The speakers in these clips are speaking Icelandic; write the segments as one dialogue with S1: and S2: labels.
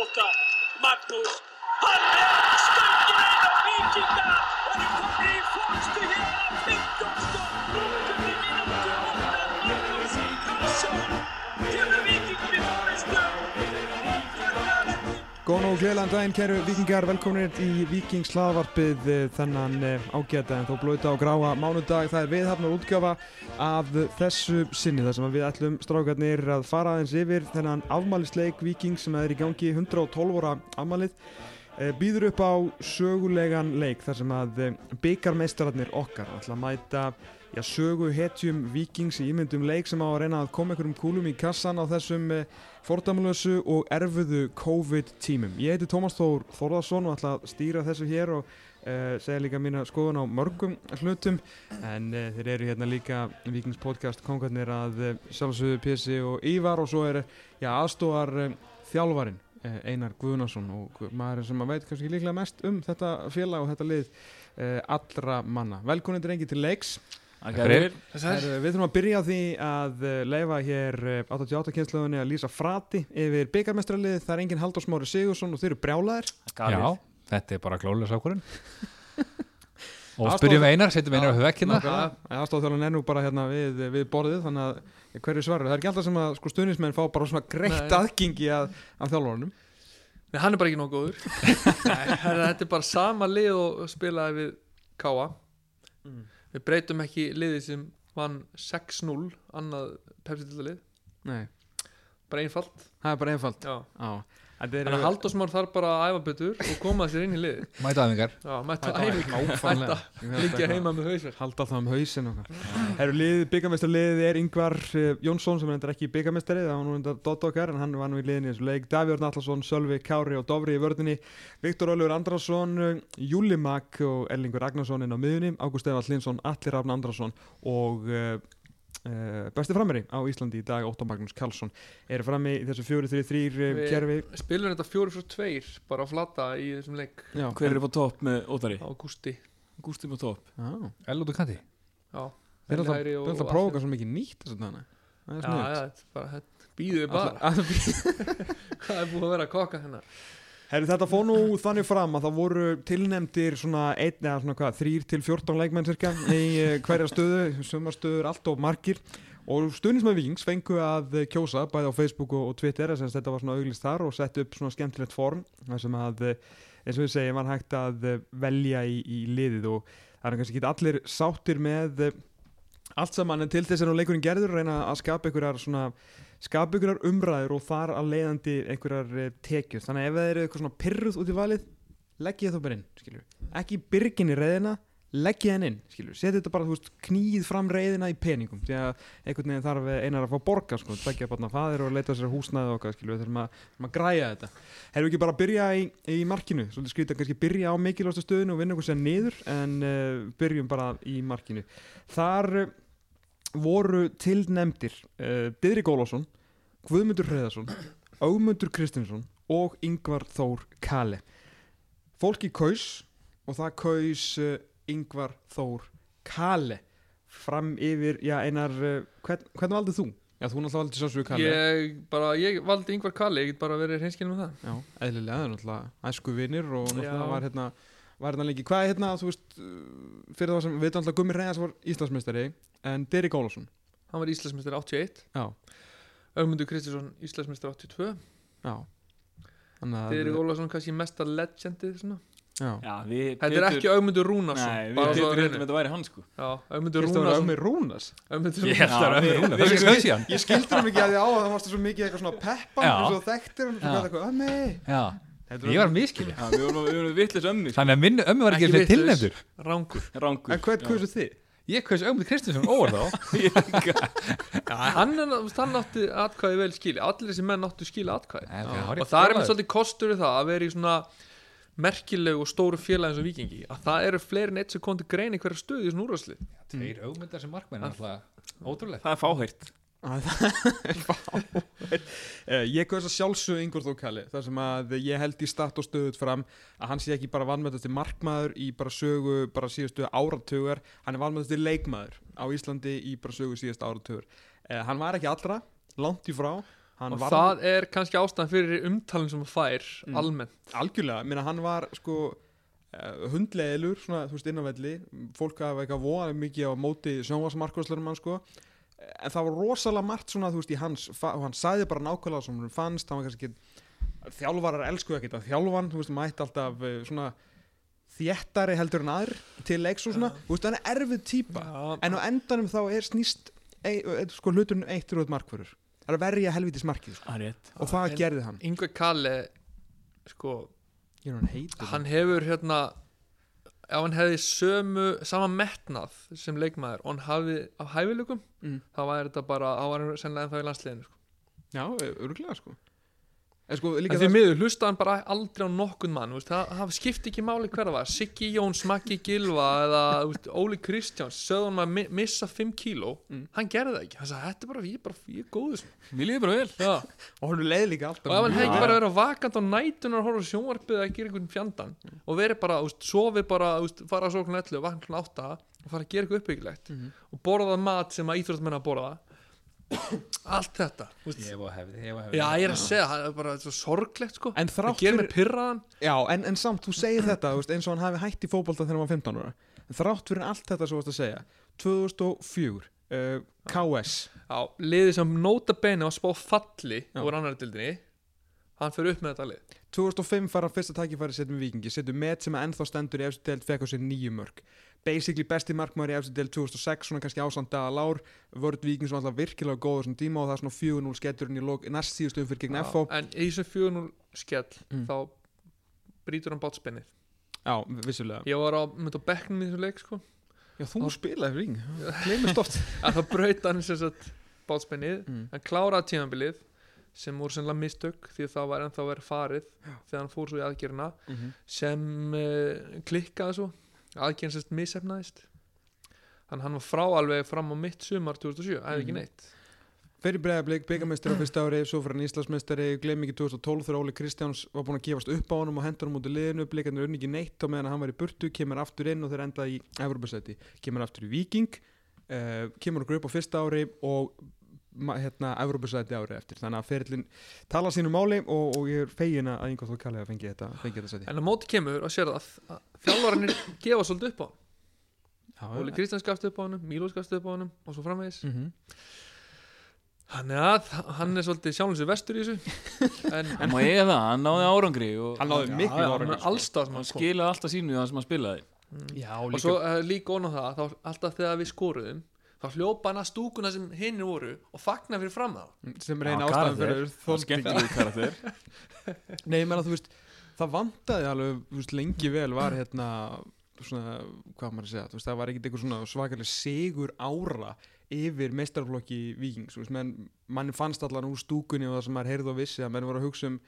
S1: Óta, Magnús, hann er stöngin einn á vikinga og er komið í fórstu hér á 15. mínútu og Magnús Ingvarsson kemur vikingum í fórstu og fórnar ekki.
S2: Góðan og gleðilegan daginn, kæru vikingar, velkominir í Vikings hlaðvarpið eh, þennan eh, ágæta en þó blóta og gráa mánudag. Það er viðhafnar útgjáfa af þessu sinni þar sem að við ætlum strákarnir að fara aðeins yfir þennan afmælisleik Vikings sem er í gangi 112 ára afmælið. eh, Býður upp á sögulegan leik þar sem að byggarmeistararnir okkar ætla að mæta já, sögu hetjum Vikings í ímyndum leik sem á að reyna að koma einhverjum kúlum í kassan á þessum eh, fordamlösu og erfiðu COVID tímum. Ég heiti Tómas Þór Þórðarsson og ætla að stýra þessu hér og uh, segja líka mína skoðun á mörgum hlutum en uh, þeir eru hérna líka Vikings podcast kongarnir að uh, sjálfsögðu Pissi og Ívar og svo er já, aðstóðar uh, þjálfarin uh, Einar Guðnason og maður sem að veit kannski líklega mest um þetta félag og þetta lið uh, allra manna. Velkomin drengi til leiks.
S3: Takk fyrir.
S2: Heru, við þurfum að byrja á því að eh, leifa hér eh, 88 kynsluðunni að lýsa frati yfir byggarmestralið, það er enginn Halldór Smári Sigursson og þeir eru brjálæðir
S3: Já, þetta er bara glóðlega sákurinn Og
S2: Aðstoð-
S3: spyrjum Einar, setjum Einar á höfvekkina
S2: aðstofþjólan er nú bara hérna við, við borðið þannig að eh, hverju svarur, það er ekki alltaf sem að sko, stuðnismenn fá bara svona greitt
S4: Nei.
S2: aðgengi að, að þjálfóranum
S4: Nei, hann er bara ekki nóg góður Nei, Þetta er bara sama lið og spilaði við Káa Við breytum ekki liðið sem vann 6-0 annað pepsitildalið,
S2: Nei,
S4: bara einfalt
S2: það er bara einfalt
S4: Já.
S2: Já. En þeir
S4: Þannig að Halldórsmár þarf bara að æfa betur og koma sér inn í liðið
S3: Mæta aðingar
S4: Já,
S2: Mæta
S4: mæta
S2: á æfingu,
S4: æfingu,
S2: nákvæmlega.
S4: mæta liggja heima með hausverk
S2: halda það um hausin okkar Herru, liðið, byggarmestraliðið er Yngvar eh, Jónsson sem er endur ekki byggarmestralið það var nú endur dott okkar en hann var nú í liðinni í þessu leik Davíðurn Allarsson, Sölvi, Kári og Dofri í vördinni Viktor Ólfur Andrason Júli Makk og Erlingur Ragnarsson inn á miðunni, Ágúst Evald Linsson, Allir Rafn Andrason og uh, uh, besti frameri á Íslandi í dag Óttar Magnús Karlsson eru frammi í þessu 4-3-3
S4: Við-
S2: kerfi
S4: Spilum þetta 4-2 bara að flata í þessum leik
S2: Já,
S5: Hver er på topp með Ótari?
S4: á Gústi
S5: Gústi på topp
S2: Já,
S3: Elótu kanti
S4: Já,
S2: þeir eru alltaf-
S4: Hægri
S2: þeir
S4: og-
S2: eru alltaf að
S4: og
S2: prófa okkar svo mikið nýtt þess að dana Það er
S4: já, já,
S2: sniðugt
S4: þetta er bara, þetta býðum við bara
S2: Alla- að-
S4: Hvað er búið að vera að koka hennar?
S2: Herri, þetta fór nú þannig fram að það voru tilnefndir svona, einn, eða svona hvað, þrýr til 14 leikmenn cirka í eh, hverja stöðu, sumarstöður, allt og margir og stuðnismenn Víkings fengu að eh, kjósa bæði á Facebook og, og Twitter þess að þetta var svona auglist þar og sett upp svona skemmtilegt form þar sem að, eh, eins og við segjum, var hægt að eh, velja í, í liðið og það er kannski ekki allir sáttir með eh, allt saman en til þess að nú leikurinn gerður reyna að skapa einhverjar svona skapa einhverjar umræður og þar að leiðandi einhverjar eh, tekjur þannig að ef það eru eitthvað svona pyrruð út í valið legg ég það bara inn, skilur ekki byrgin í reyðina, legg ég hann inn skilur, setja þetta bara, þú veist, knýð fram reyðina í peningum, því að einhvern veginn þarf einar að fá borga, sko, begja barna faðir og leita sér húsnaði okkar, skilur, við þurfum að, þurfum að græja þetta. Hefur ekki bara að byrja í, í markinu, svolítið skrítið að kannski byrja á mikilvægsta stöðinu og vinna okkur sér niður en uh, byrjum bara í markinu þar eh, voru tilnefndir uh, Didrik Ólásson, Guðmundur Hreðarsson Ámundur Kristinsson og Yngvar Þór Kale fólki kaus og það kaus uh, Yngvar Þór Kale fram yfir, já einar uh, hvern, hvernig valdið þú? Já þú náttúrulega valdið sjálfsögur Kale
S4: Ég bara, ég valdi yngvar Kalli, ég get bara verið hreinskilin með það
S2: Já, eðlilega, það er náttúrulega æsku vinnir og náttúrulega
S4: Já.
S2: var hérna var hérna lengi, hvað er hérna, þú veist uh, fyrir það sem, við veitum alltaf Gummi Reyðars var Íslandsmeistari en Derrick Ólafsson
S4: Hann var Íslandsmeistar 81
S2: Já.
S4: Ögmundur Kristinsson Íslandsmeistar 82
S2: Já Þannig að
S4: Þeir eru Ólafsson kannski mesta legendið svona.
S2: Já
S5: Já, við
S4: Þetta er ekki Ögmundur
S5: Nei,
S4: Rúnarsson
S5: við
S4: bara
S5: Pétur
S4: svo að
S5: heldum
S4: reyna
S5: þetta væri hann sko
S4: Já, Ögmundur
S2: Þetta var
S4: Rúnarsson
S2: Ömmi Rúnas
S4: Ögmundur
S3: Ég
S4: Rúnarsson
S3: held að það er ömmu rúna Það er skaus í hann
S2: Ég skildi hann ekki að því á að það varst svo mikið eitthvað svona peppan
S3: Já.
S2: og svo þekktir hann
S3: Já.
S2: og eitthvað Ömmi
S3: Já,
S2: Þetta
S3: ég var miskili
S5: Já, við vorum, við vorum vittlis ömmir
S3: Þannig að minn ömmu var ekki
S4: Ekki
S3: fyrir
S4: vitlaus.
S3: tilnefndur
S4: Rángur
S5: Rangur
S2: En hvern kursu þið?
S3: Ég kaus ömmu Kristinsson óvar þá
S4: Hann, er, þú veist, hann átti atkvæði vel skili Allir þessi menn áttu skili atkvæði
S3: En það var
S4: Og
S3: ég
S4: það er
S3: brjálaður.
S4: með svolítið kostur við það að vera í svona merkilegu og stóru félagi eins og vikingi að það eru fleiri en eitt sem kom til grein í hverja stöðu í svona úrvarsli
S3: Tveir ögmyndar sem markmenn er alltaf Ótrúlegt
S5: Það er fáhært
S2: Eh, Ég kaus að sjálfsögðu Ingvar Þór Kalli þar sem að ég held í statt og stöðut fram að hann sé ekki bara vanmættasti markmaður í bara sögu bara síðustu áratugar hann er vanmættasti leikmaður á Íslandi í bara sögu síðustu áratugar Eh, hann var ekki allra, langt í frá hann
S4: og
S2: var
S4: það er kannski ástæðan fyrir umtalin sem hann fær
S2: Mm.
S4: almennt
S2: algjörlega, minna hann var sko eh, hundleðilur, svona, þú veist, innanvelli fólk hafa eitthvað voða mikið á móti sjónvarsmarkvæslurum hann sko en það var rosalega margt svona, þú veist, í hans fa- og hann sagði bara nákvæmlega sem hann fannst hann var kannski ekki, þjálfarar elsku ekkert að þjálfan, þú veist, mætt alltaf eh, svona þéttari heldur en aðr til leiks og svona, þú veist, hann er erfið típa en á endanum þá er snýst ei, eh, sko hluturinn um eitt rúð markvörur það er að verja helvitis markið sko.
S5: Það er rétt.
S2: og það
S4: en-
S2: gerði hann,
S4: Yngve Kalle sko,
S2: ég er hann heitur
S4: hann hefur hérna ef hann hefði sömu, sama metnað sem leikmaður og hann hafi á hæfileikum
S2: Mm.
S4: þá var þetta bara, þá var hann sennilega ennþá í landsliðinu sko.
S2: Já, öruglega sko En sko líka
S4: en því miður hlusta hann bara aldrei á nokkun mann þú veist, það, það skipti ekki máli hver það var Siggi Jóns, Maggi Gilva eða þú veist, Óli Kristjáns sögðum að mi- missa 5 kíló
S2: Mm.
S4: hann gerði það ekki, hann sagði þetta er bara, ég er bara ég er góður sko."
S5: Mér líður bara vel.
S4: Já.
S2: Og hann leið líka alltaf
S4: og ef hann hefði
S2: mjög
S4: ekki bara verið vakant á nætunar og horfa á sjónvarpið eða gera einhvern fjandan og verið bara, úst, sofið bara, úst, fara að sóknu 11 vakna klukkan 8 og fara að gera eitthvað uppbyggilegt
S2: Mhm.
S4: og borða mat sem að íþróttmenna borða allt þetta úst,
S3: Ég var hefði, ég var hefði
S4: já ég er að segja, það er bara svo sorglegt sko
S2: En
S4: það
S2: þrátt
S4: gerir mig
S2: fyrir
S4: pyrraðan
S2: Já, en, en samt, þú segir þetta þú veist, eins og hann hafi hætt í fótbolta þegar hann var 15 ára En þrátt fyrir allt þetta svo varst að segja 2004 uh, KS
S4: já, liðið sem nota bene og spá falli
S2: Já.
S4: úr annar dildinni hann fyrir upp með þetta lið
S2: 2005 fara hann fyrsta tækifæri setjum við vikingi setjum met sem að ennþá stendur í efstu deild fekk á sér nýju mörg basically besti markmaður í efstu deild 2006 svona kannski ásand daga lár vörð viking sem var alltaf virkilega góður sem tíma og það er svona 4-0 sketturinn í lok, næst síðustu umfyrir gegn
S4: Já,
S2: FO
S4: en í þessum 4-0 skell
S2: Mm.
S4: þá brýtur hann bátspinnið
S2: Já, vissulega
S4: ég var á, mynd á bekknum í þessum leik sko
S2: Já, þú spilaði fyrir viking, gleymist oft
S4: að það braut hann sem sagt bátspennið,
S2: Mm.
S4: hann kláraði tímabilið sem voru sennilega mistök því að það var ennþá verið farið þegar hann fór svo í aðgerina
S2: Mhm.
S4: sem uh, klikkaði svo aðgerinn sérst misefnaðist þannig hann var frá alveg fram á mitt sumar 2007, æði ekki
S2: Mhm.
S4: neitt
S2: Fyrir bregðarblik, byggamestari á fyrsta ári, svo fyrir hann Íslandsmeistari, gleym ekki 2012 þegar Óli Kristjáns var búinn að gefast upp á honum og hendur hann út í liðinu, blikarnir unni ekki neitt á meðan að hann var í burtu, kemur aftur inn og þeir enda í Evropasæti, kemur aftur í Viking, uh, kemur okkur upp á fyrsta ári og ma- hérna, Evropasæti ári eftir, þannig að ferillin tala sínu máli og, og ég er fegin að einhvern þú kallið að fengi þetta, fengi þetta sæti.
S4: en á móti kemur og sér það að þjálfararnir gefa svolítið upp á hann Óli Kristjáns gafst upp á hann, Mílós gafst upp á hann og svo framvegis
S2: Mm
S4: hann er, að, hann er svolítið sjálfins vestur í þessu en
S5: En maður eiga það, hann náði árangri. Og,
S2: Hann náði miklu
S5: árangri.
S4: hann allstað sem
S5: Hann
S4: hann kom
S5: skilaði alltaf sínu það sem hann spilaði.
S2: Já,
S4: og svo uh, líka ón á það þá, alltaf þegar við skoruðum þá hljópa hann að stúkuna sem hinn voru og fagna fyrir fram þá
S2: sem er eina
S5: Já,
S2: ástæðan
S5: karakter.
S2: fyrir
S5: Það var
S2: þoldi ekki.
S5: skemmtilegur karakter.
S2: Nei, ég meina þú veist, það vantaði alveg, þú veist, lengi vel var hérna svona, hvað á maður að segja, þú veist, það var ekkert einhver svona svakalega sigur ára yfir meistarflokki vikings, þú veist, menn, mann fannst allan úr stúkunni og það sem maður heyrði og vissi að menn voru að hugsa um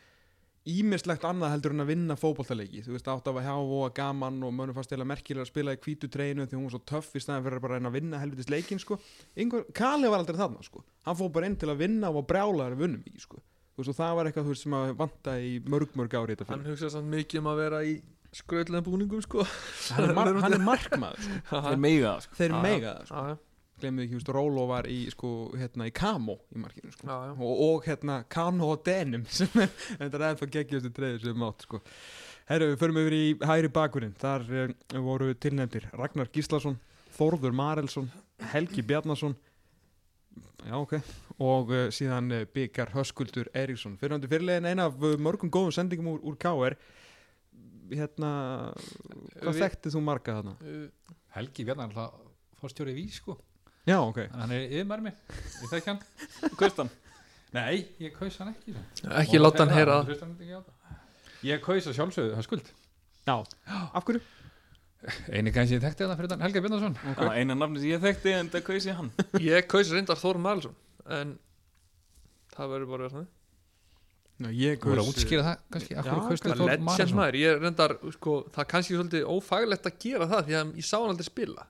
S2: ímislegt annað heldur en að vinna fótboltaleiki, þú veist, átt af að hafa og gaman og mönnum fannst eða merkilega að spila í hvítu treinu því hún var svo töff í staðan fyrir að bara reyna að vinna helvitis leikin, sko, einhver, Kali var aldrei þarna, sko, hann fór bara inn til að vinna og var brjálaður að vunum ekki, sko, þú veist, og það var eitthvað, þú veist, sem að vanta í mörg, mörg ári þetta
S4: hann
S2: fyrir,
S4: hugsaði samt mikið um að vera í skröðlega búningum sko
S2: hann er, mar hann er markmaður, sko.
S5: Þeir meiga það, sko.
S2: þeir
S4: Já, já.
S2: mega það, sko,
S4: já,
S2: glemðu ekki, þú veist, Rólo var í, sko, hérna, í Kamo í markinu, sko,
S4: já, já.
S2: og, og hérna Kano og Denim sem er, þetta er ennþá geggjustu treyður sem átt sko. Herru, við förum yfir í hægri bakurinn þar um, voru tilnefndir Ragnar Gíslason, Þórður Marelsson Helgi Bjarnason já ok og uh, síðan uh, byggar Höskuldur Eriksson fyrirhandi fyrirlegin eina af uh, mörgum góðum sendingum úr, úr KR hérna, hvað
S4: Við-
S2: þekktið þú marga þarna?
S4: Uh,
S3: Helgi Bjarnar er alltaf fórstjóri vís sko
S2: Já, ok.
S3: Þannig að Hann er yfirmar minn, ég þekki hann
S5: Kaust hann.
S3: Nei, ég kaus hann ekki sko.
S4: ekki láta hann heyra það
S3: Hlusta hann ekki á það. Ég kaus að sjálfsögðu, það skuld
S2: Já. Af hverju?
S3: Einu kannski ég þekkti það fyrir þann Helgi Bjarnarsson
S5: Það var eina nafni sem ég þekkti en það kaus ég hann.
S4: ég kaus reyndar Þór Marlsson en það verður bara að vera þannig
S2: Ná, ég
S3: Þú voru að útskýra það kannski af hverju
S2: Já,
S3: kaustu
S2: kannski.
S4: það
S3: Þór
S4: er legend
S3: Marason?
S4: maður ég er reyndar sko það er kannski svolítið ófaglegt að gera það því að ég sá hann aldrei spila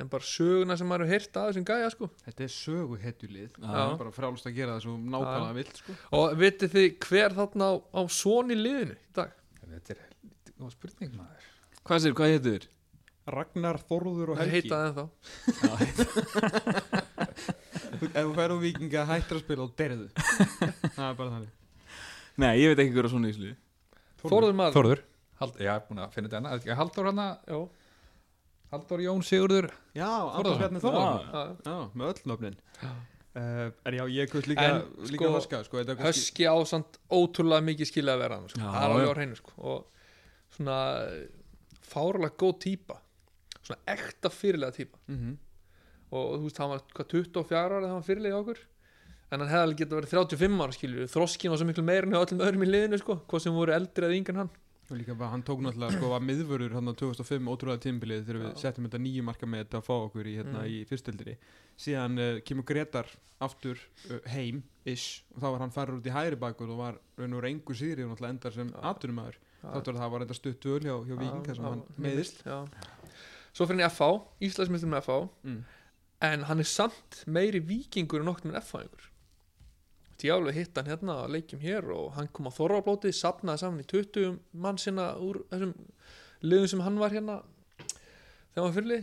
S4: en bara söguna sem maður hefur heyrt af þessum gæja sko
S2: Þetta er sögu hetjulið.
S4: Já.
S2: Bara frálust að gera það svo nákvæmlega vilt, sko.
S4: og vitið þið hver þarna á, á svon í liðinu í dag
S3: Þetta er helviti góð spurning maður
S5: Hvað sér, hvað héttur?
S2: Ragnar Þorður og
S4: Það
S2: Helgi
S4: heita það ennþá
S2: ef þú færðu vikinga hættir að spila og derðu það er bara þannig
S5: Nei, ég veit ekki hverja svona í slu
S4: Þórður maður
S3: Þórður Hald, Já, ég er búin að finna þetta hana Haldur hana
S4: Já,
S3: Haldur Jón Sigurður
S2: já, Andrés
S3: Þórðarson.
S2: Bjarni Þórðarson
S5: Já,
S4: já.
S2: já, með öll nöfnin uh, en já, ég kust líka,
S4: En,
S2: líka
S4: sko,
S2: höska sko, þetta er kannski-
S4: Höski á samt ótrúlega mikið skilja að vera hann sko.
S5: Já,
S4: Það er alveg
S5: já.
S4: á hreinu sko. og svona fárulega góð típa svona ekta fyrirlega típa
S2: Mhm.
S4: og, og þú veist, hann var hvað 24 ára þegar hann fyrirlega í okkur en hann hefði alveg getað verið 35 ára skilju þroskin og svo miklu meira en hjá öllum öðrum í liðinu sko, hvað sem voru eldri eða yngan hann
S2: Og líka bara, hann tók náttúrulega sko að miðvörur hann á 2005 ótrúlega tímbilið þegar við settum þetta nýju marka með þetta að fá okkur í, hérna,
S4: Mm.
S2: í fyrstöldri síðan uh, kemur Gretar aftur uh, heim ish og þá var hann farið út í hægri bakur og var raun og reyngu síðri og náttúrulega endar sem aturumæður þáttur að það var enda stutt völ hjá, hjá Víking þar sem hann meðist
S4: Já. Svo fyrir hann í FH, Íslandsmyndur með FH
S2: Mm.
S4: en hann er samt meiri vikingur en nokkur með F-fæðingur ég alveg hitt hann hérna að leikjum hér og hann kom á Þorrablótið, sapnaði saman í 20 mann sinna úr þessum liðum sem hann var hérna þegar hann fyrli,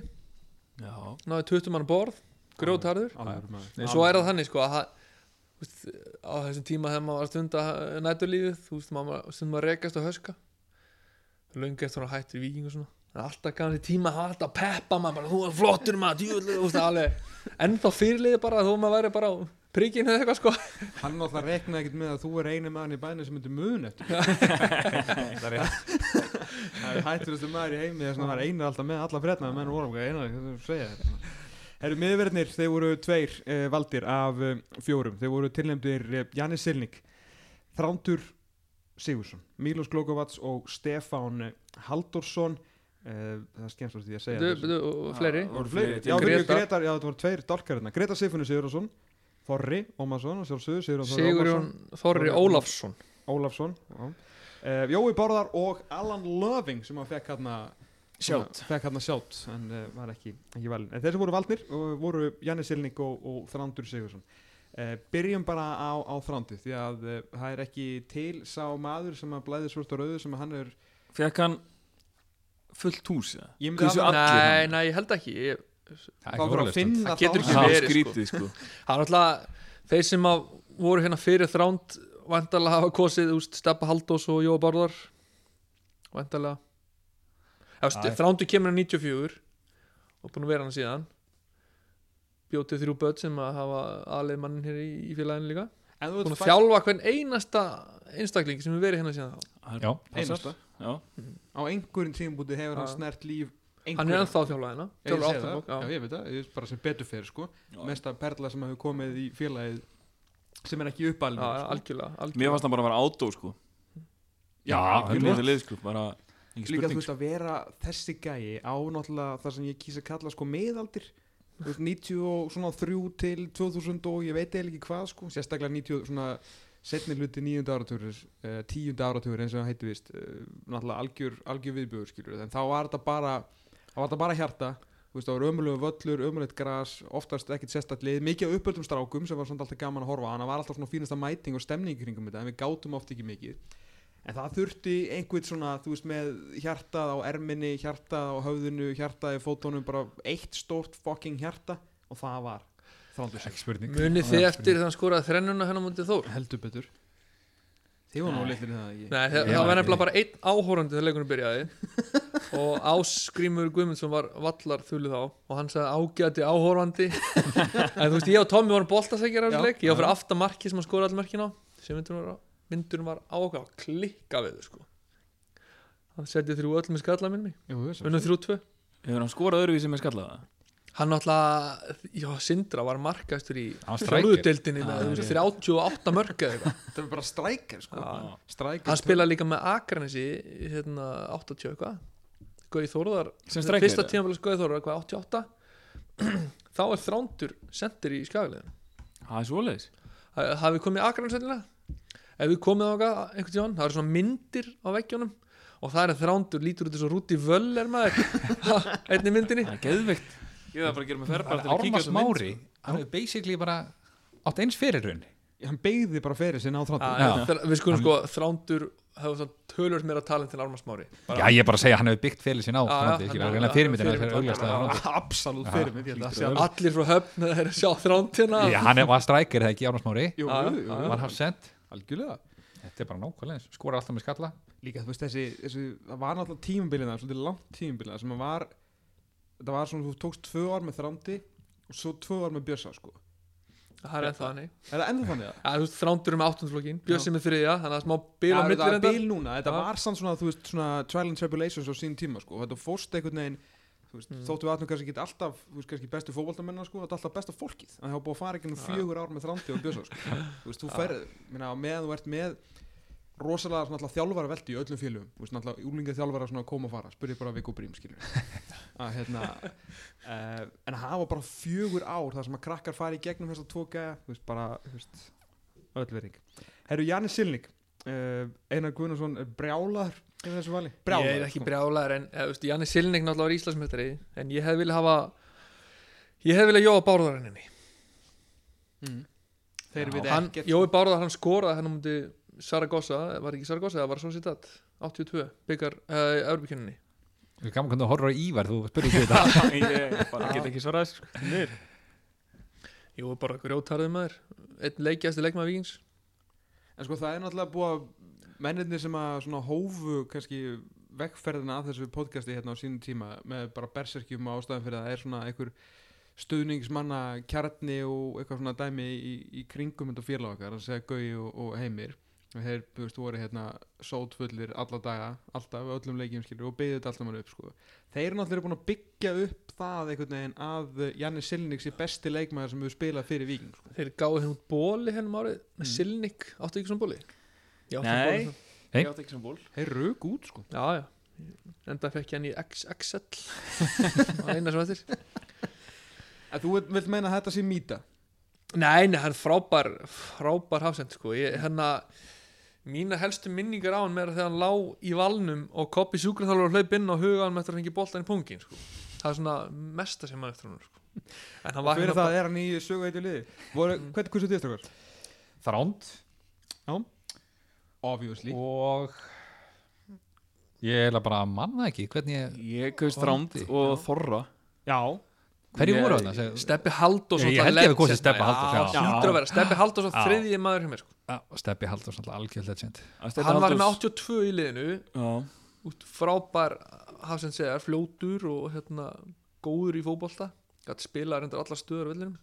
S5: já.
S4: náði 20 mann borð grjótarður,
S2: alvörumaður.
S4: en svo er það þannig sko að hann- þú veist, á þessum tíma þegar maður var að stunda eh, næturlífið, þú veist maður var- stundum að rekast og höska löngu eftir hann hættir viking og svona en alltaf gaf hann í tíma, hann var alltaf að peppa maður bara, þú er flottur maður, djúðlega, þú veist alveg ennþá fyrirliði bara þó maður væri bara á prikinu eða eitthvað sko
S2: hann náttúrulega reknaði ekkert með að þú er eini maður í bænum sem myndi mun eftir það er rétt það er hætturustu maður í heimi þess að það er einu alltaf með alla fredna menn voru okkar einu hvað þú segja þetta Herru, miðverðnir, þeir voru tveir eh, valdir af eh, fjórum. Þeir voru tilnefndir eh, Jannis Silning, Þrándur Sigursson, Milos Glokovats og Stefán eh, Halldórsson. Eh, það er skemmst því að segja
S4: Bíddu,
S2: þessu.
S4: bíddu, og fleiri
S5: Já,
S2: voru fleiri, já,
S4: Greta.
S2: Greta. Gretar, já, þetta voru tveir hérna. dálkarinnar Greta Sifunu Sigurðarsson, Þorri Ómarsson og sjálfsögur Sigurðan Þorri
S4: Sigurjón
S2: Ómarsson
S4: Þorri
S2: Þorri
S4: Ólafsson
S2: Ólafsson uh, Jói Bárðar og Alan Loving sem að fekk hérna
S5: Sjátt
S2: fekk hérna sjátt en uh, var ekki, ekki velin en þeir sem voru valdnir uh, voru Janni Silning og, og Þrandur Sigursson uh, byrjum bara á, á Þrandi því að uh, það er ekki til sá maður sem að blæði svört og rauðu sem að hann er
S5: Fekk hann fullt hús eða?
S2: ég myndi
S5: Hversu
S2: alveg-
S5: allir
S4: Nei,
S5: hann?
S4: nei, ég held ekki ég,
S2: þá fyrir að finna
S4: Það getur
S2: þá-
S4: ekki
S5: Það
S4: verið,
S5: er skrítið sko
S4: Það er alltaf þeir sem að voru hérna fyrir þránd vandalega hafa kosið úst, Steppa Haldós og Jóa Bárðar vandalega
S3: Æ.
S4: Þrándu kemur hérna hann 94 og búin að vera hann síðan bjótið þrjú börn sem að hafa aðleið mannin hér í, í félaginu líka
S2: En þú ert
S4: búin að
S2: fæ-
S4: þjálfa hvern einasta einstakling sem hefur verið hérna síðan þá
S3: Já,
S2: Einasta.
S5: Já,
S2: á einhverjum tímabúti hefur hann
S4: Já.
S2: snert líf
S4: hann er
S2: einhverjum
S4: ennþá að þjálfa hérna
S2: Já, ég
S4: þjálfar
S2: segi
S4: Afturbók,
S2: það, já ég veit það, ég veist bara sem betur fyrir sko
S5: Já.
S2: mesta perla sem hefur komið í félagið sem er ekki uppalinn
S4: já,
S2: sko.
S4: algjörlega,
S5: Mér
S4: algjörlega.
S5: fannst hann bara að vera átó sko
S3: Já,
S5: Hann
S3: algjörlega.
S5: lóði leið sko Bara engin
S2: líka
S5: spurning
S2: þú veist að vera þessi gæi á náttúrulega það sem ég kýsa að kalla sko meðaldir Þú veist, 90 og svona 3 til 2000 og ég veit eiginlega ekki hvað sko sérstaklega 90 og svona setni hluti 9. áratugur, uh, 10. áratugur eins og það heiti vist, uh, náttúrulega algjör, algjör viðbjöður skilur, en þá var þetta bara þá var þetta bara hjarta þú veist, það voru ömulegu völlur, ömulegt gras oftast ekkert sérstætt lið, mikið af uppöldum strákum sem var svona alltaf gaman að horfa á, hann var alltaf svona fínasta mæting og stemning í kringum þetta, en við gátum oft ekki mikið en það þurfti einhvern svona, þú veist, með hjartað á erminni, hjartað á höfðinu hjartað í fótónum, bara eitt stórt fucking hjarta og það var þrándur sig,
S3: Ekki spurning
S4: munið þið eftir þegar hann skoraði þrennuna hérna á mótið Þór
S2: heldur betur þið voru nú litlir í það ekki
S4: Nei, það,
S3: Ég
S4: það
S3: var
S4: var
S3: ekki.
S4: nefnilega bara einn áhórandi þegar leikunum byrjaði og Ásgrímur Guðmundsson var vallar þullu þá og hann sagði ágæti áhórandi en þú veist ég og Tommi vorum boltasækjar af
S2: Já,
S4: þessu leik ég var fyrir aftan marki sem hann skoraði all merkin á sem myndurinn var, myndurinn var á okkar að klikka við þau sko hann setti þrjú öll með skalla minni
S2: Jú, jú, sem-
S4: unnum þrjú tvö
S5: Hefur hann skorað öðruvísi með skallaða?
S4: hann náttúrulega, já Sindra var markastur í
S3: Hann var striker.
S4: þrjóðudeldinni með þú veist, 38 mörk eða eitthvað
S2: þetta var bara strækir sko.
S4: Já.
S2: strækir sko.
S4: hann spilaði líka með Akranesi í, hérna 80 eitthvað Gauði Þórðar
S5: Sem striker,
S4: fyrsta
S5: eða?
S4: tímafélags Gauði Þórðar eitthvað 88 þá er þrándur sendir í skagaliðin
S5: Það er svoleiðis
S4: hafið komið Akranesilega ef við komið ákvað einhvern tíðan það eru svona myndir á veggjónum og það er þrándur lítur út eins og Rúti Völl er maður einni myndinni
S5: Það er geðveikt Ég þarf bara að gera mig ferð bara til að kíkja
S3: Ármas Mári Hann hefur basically bara átt eins fyrir raun
S2: hann beigði bara fyrir sinna á þrándur
S4: Já, já. Þr- við skulum sko þrándur það var svona tölvöld meira talent en Ármann Smári
S3: Já, ég er bara að segja að hann hefur byggt fyrir sín á
S4: Já, já,
S3: Fernandi, ekki
S4: hann-
S3: verið að
S4: hann-
S3: fyrirmyndina
S4: fyrirmynd-
S3: fyrir augljóslega
S4: hann-
S3: Fernandi.
S2: Absolutt fyrir mig þetta sé að-
S4: allir frá höfn þegar þeir sjá þrántina
S3: Já, hann er- var strækir það ekki, Árnars Mári
S2: Jú,
S4: Já,
S2: jú, jú,
S4: já,
S3: var hafsend,
S2: algjörlega
S3: þetta er bara nákvæmlega eins, skora alltaf með skalla
S2: Líka þú veist þessi, þessi það var náttúrulega tímabilina, svolítið langt tímabilina sem að var, það var svona, þú tókst tvö ár með þrandi og svo tvö ár með Bjössa sko
S4: það er ennþá þannig
S2: Er það ennþá þannig að?
S4: Já, þú veist, þrándur er með áttundflokkin, Bjössi með þriðja þannig að smá bil á
S2: Já,
S4: milli
S2: þetta var
S4: reyndar
S2: bil núna, þetta
S4: Já.
S2: var samt svona, þú veist, svona trial and tribulations á sín tíma sko og þetta fórst einhvern veginn þú
S4: Mm.
S2: veist, þóttu við aðnum kannski ekki alltaf, þú veist, kannski bestu fótboltamennina sko, þetta er alltaf besta fólkið en það hafa búið að fara ekki nú fjögur ár með þrandi og bjösa sko. þú veist, þú ferð, minna, meðan þú ert með rosalega svona alltaf þjálfara veldi í öllum félugum, þú veist, alltaf úlinga þjálfara svona að koma og fara, spurði bara Viggo Brím, skilur að hérna uh, en að hafa bara fjögur ár þar sem að krakkar fara í gegnum þessa tóka þú veist, bara, þú veist, öllvering Herru, Janni Silning uh, Einar Guðnarsson er brjálaður yfir þessu vali,
S4: ég er ekki
S2: sko.
S4: brjálaður en eða, þú veist, Janni Silning náttúrulega var Íslandsmyndari en ég hef viljað hafa ég hef viljað Jóa Bárðar henni
S2: sko. Mm. þeir vita
S4: hann,
S2: ekkert
S4: Jói Bárðar hann skoraði hann á múti Saragossa, var ekki Saragossa það var svo sitt 82, byggar uh, Örbjörninni
S3: Þú er gaman hvernig þú horfður á Ívar, þú spurði ekki þetta
S5: Ég bara get ekki svarað þessu, sko. Nýr.
S4: Jói Bárðar grjótarði maður einn leikjast leikmaður vikings
S2: en sko það er náttúrulega búið að mennirnir sem að svona hófu kannski vekkferðina að þessu podcasti hérna á sínum tíma með bara berserkjum og ástæðan fyrir að það er svona einhver stuðningsmanna kjarni og eitthvað svona dæmi í, í kringum þetta félag okkar, þannig að segja Gaui og, og Heimir og þeir, þú veist, voru hérna sótfullir alla daga, alltaf öllum leikjum skilur og byggðu þetta alltaf mann upp sko þeir eru náttúrulega búin að byggja upp það einhvern veginn að Janni Silning sé besti leikmaður sem hefur spilað fyrir Víking sko.
S4: þeir gáði henn út bóli hennum árið með
S2: Mm.
S4: Silning, áttu ekki svona bóli? Ég átti
S5: Nei.
S4: svona bóli.
S3: Nei.
S5: Ég átti ekki sem ból
S2: þeir rauk út sko
S4: já, já enda fekk ég hann í XXL og eina sem eftir
S2: En þú vilt- vilt meina að þetta sé mýta
S4: Nei, nei, hann er frábær frábær hafsend sko ég, hérna, mína helstu minningar á hann meira þegar hann lá í valnum og koppi sjúkraþálfur hlaup inn og huga hann eftir að hengi boltan í pungin sko. það er svona mesta sem hann eftir hann sko. en hann var
S2: Fyrir
S4: hérna
S2: það er hann í sögætu liði Voru, Hvernig kursu þið stakar?
S3: Þránd
S2: Obviously
S3: og ég er bara að manna ekki hvernig ég,
S5: Ég kaust Þránd
S3: Þrándi,
S5: og Þorra
S2: Já
S3: hverju
S5: Ég-
S3: voru þarna? Segðu-
S4: Steppi Haldós
S3: Ég- ég
S4: náttúrulega
S3: held ég hafi
S4: legend,
S3: kosið Stebba
S4: maður.
S3: Halldórs, já.
S4: Já, hlýtur að vera. Steppi Haldós á
S3: Já.
S4: þriðji maður hjá mér sko.
S3: Já, og Stebbi Halldórs alltaf algjörð legend
S4: hann var með 82 í liðinu
S5: Já
S4: út frábær hafsend segjar, fljótur og hérna, góður í fótbolta gæti spila reyndar allar stöður á vellinum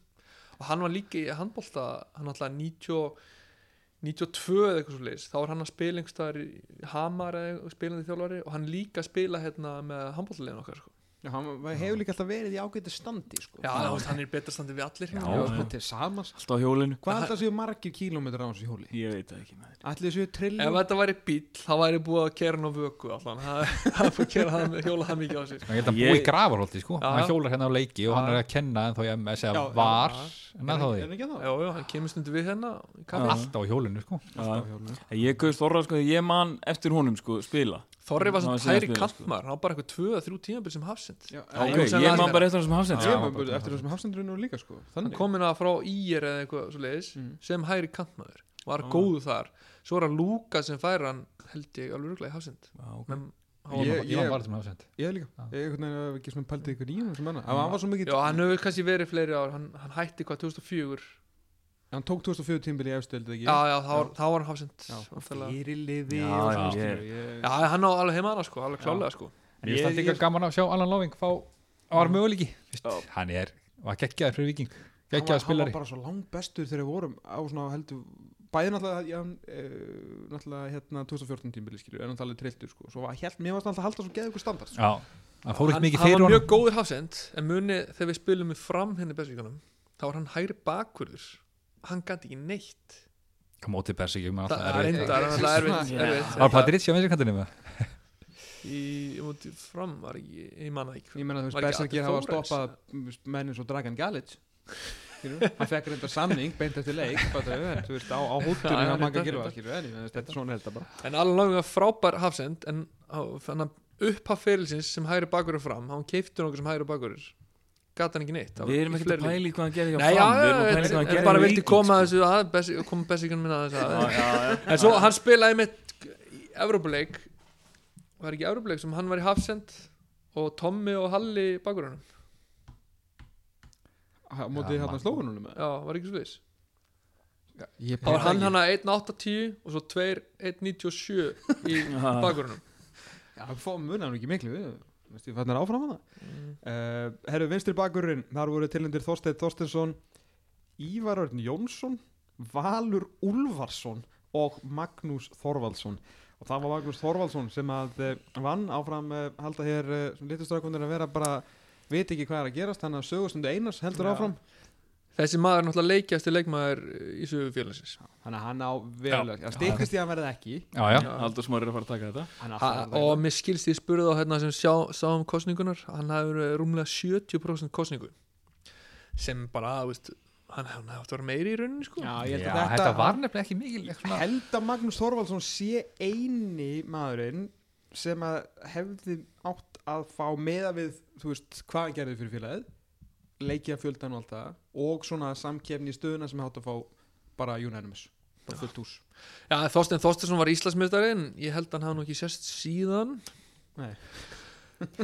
S4: og hann var líka í handbolta hann alltaf 90, 92 eða eitthvað svo leis, þá var hann að spila einhverstaðar í Hamar eða spilandi þjálfari og hann líka að spila hérna með handboltalegin okkar sko.
S2: Já, hann var- hefur líka alltaf verið í ágæti standi sko.
S4: já, já. Veist, hann er í betra standi við allir
S2: Já,
S4: já,
S2: sko, til samans
S5: Alltaf á hjólinu
S2: Hvað alltaf séu margir kílómetrar á þessu hjóli?
S5: Ég veit það ekki maður
S2: Ætli þessu
S4: ef
S2: trilljum?
S4: þetta væri bíl, þá væri búið að kera hann á vöku allan, það það er búið að kera hann með hjóla það mikið á sér
S3: ég held að
S5: Ég-
S3: búi í gravarholti sko
S4: Já.
S3: hann hjólar hérna á leiki og hann er að kenna en þá ég MS
S2: Já,
S3: eða
S2: já.
S3: var
S2: Er
S3: en þá
S2: hann- er
S3: því
S2: hann ekki að það?
S4: já, já, hann kemur stundu við hérna í kaffi.
S3: alltaf á hjólinu sko
S5: Já.
S2: á hjólinu.
S5: Ég kaust Þorra sko Ég man eftir honum sko spila
S4: Þorri var
S5: Ná,
S4: svona
S5: síðan
S4: tæri
S5: spila, sko.
S4: kantmaður, hann var bara eitthvað tvö að þrjú tímabil sem hafsend
S2: Já,
S5: Ok,
S2: ég-
S5: ég man bara eftir hann sem hafsend
S2: Ég
S5: sko.
S2: var bara eftir þessum hafsendurinn og líka sko
S4: hann
S2: Þannig
S4: kom hérna frá IR eða eitthvað svo leiðis
S2: Mm.
S4: sem hægri kantmaður, var
S5: Ah.
S4: góðu þar svo er hann Lúka sem fær hann held ég alveg rúglega í hafsend
S5: Já, ok.
S4: Men, hann
S2: Ég-
S4: var,
S3: ég var bara sem hafsend
S2: Ég líka Ég einhvern veginn hef ekki svona pælt í ykkur nýjum þessum manna En hann var svo mikið
S4: já, hann hefur kannski verið fleiri ár hann, hann hætti hvað 2004
S2: Hann tók 2004 tímbil í efstöld
S4: já, já, þá var, þá var hann hafsend
S2: Já.
S4: já,
S2: Fyrirliði
S5: Já,
S2: og
S5: já,
S2: svona,
S5: ég-
S2: skilur, ég-
S4: já, hann á alveg heima hana sko, alveg klálega sko
S3: en ég stætti
S2: ég-
S3: ekki gaman að sjá Alan Loving fá var möguleiki Vist, hann er var geggjaður fyrir viking
S2: hann var,
S3: geggjaður
S2: hann var
S3: spilari
S2: bara svo langt bestur þegar við vorum á svona heldur bæði náttúrulega, já, uh, náttúrulega hérna 2014 tímbili skilju en hann talaði trilltur sko svo var, hélt, mér varst alltaf að halda svo geða ykkur standart sko.
S3: já hann fór
S4: hann,
S3: ekki mikið
S4: hann
S3: fyrir
S4: var mjög
S3: honum
S4: góður hafsend en muni þegar við spilum við fram henni besvíkanum þá var hann hægri bakvörður hann gæti ekki neitt
S3: kom ótið persi ekki um
S4: það er
S3: hann
S4: reyndar, það er erfitt,
S2: Já.
S4: erfitt
S3: var Patricia með sér kantinu með
S4: í, um, fram var ekki, ég manna ekki
S2: ég meina þú
S4: Var
S2: veist
S4: ekki
S2: Berserkir
S4: Atli
S2: hafa
S4: Þórens?
S2: stoppað mennin svo Dragan Galic skilju, hann fekk reynda samning beint eftir leik bara, en, þú veist á, á
S4: Já,
S2: hóttunni hann
S4: já, reyndar,
S2: maga gilva
S4: reyndar.
S2: skilju en ég meina, þetta er svona held að bara
S4: en alveg langar frábær hafsend en þannig að upphaf ferilsins sem hægri bakurur fram, hann keiftur okkur sem hægri bakurur gat hann ekki neitt það var
S5: Við erum ekkert að
S4: fleiri-
S5: pæla í hvað hann gerði hjá
S4: Nei, já,
S5: Fram, við
S4: já,
S5: erum að pæla í sko. hvað hann
S4: já, en- en
S5: gerði
S4: bara
S5: hjá
S4: vildi
S5: Víking,
S4: koma að þessu að, besi- koma bessikunum minna að þessu að
S5: sko. Já, já, já.
S4: en svo hann spilaði mitt Evrópuleik var ekki Evrópuleik sem hann var í Hafsend og Tommi og Halli í bakgrunum
S2: Ha- mótið
S3: Já,
S2: hérna
S3: man.
S2: slóðunum
S4: já, var ekki svo viss
S3: Ég
S4: það var
S3: bara-
S4: hann hann að 1.80 og svo 2.197 í
S5: Ah.
S4: bakgrunum
S2: hérna- Já, fó- munar hann ekki miklu við Veistu, ég fann áfram hana uh, Herru, vinstri bakurinn, þar voru tilindir Þorsteinn Þorsteinsson Ívar Örn Jónsson Valur Úlfarsson og Magnús Þorvaldsson og það var Magnús Þorvaldsson sem að uh, vann áfram uh, halda hér uh, litustrákundir að vera bara veit ekki hvað er að gerast, þannig að sögustundu einars heldur
S4: Já.
S2: áfram
S4: þessi maður er náttúrulega leikjast leikmaður í sögu félagsins
S2: þannig að hann á vel stikist í að verða ekki
S3: Já, já,
S5: Haldur Smári er að fara að taka þetta
S2: hann á
S4: ha,
S2: alltaf að
S4: og
S2: verða-
S4: mér skilst ég spurði á hérna sem sjá, sá um kosningunar hann hafði verið rúmlega 70% kosningu sem bara, þú veist hann hann hafði átt að vera meiri í rauninni sko
S2: Já,
S3: já
S2: ég held að
S3: þetta,
S2: þetta
S3: var nefnilega ekki mikil eitthvað svona-
S2: held að Magnús Þorvaldsson sé eini maðurinn sem að hefði átt að fá meða við, þú veist, hvað hann gerði fyrir félagið leikja fjöldan og allt það og svona samkefni í stöðuna sem hátt að fá bara Unanimous bara fullt hús
S4: Já, Þorstein Þorsteinsson var Íslandsmeistari en ég held að hann hafði nú ekki sérst síðan
S2: Nei.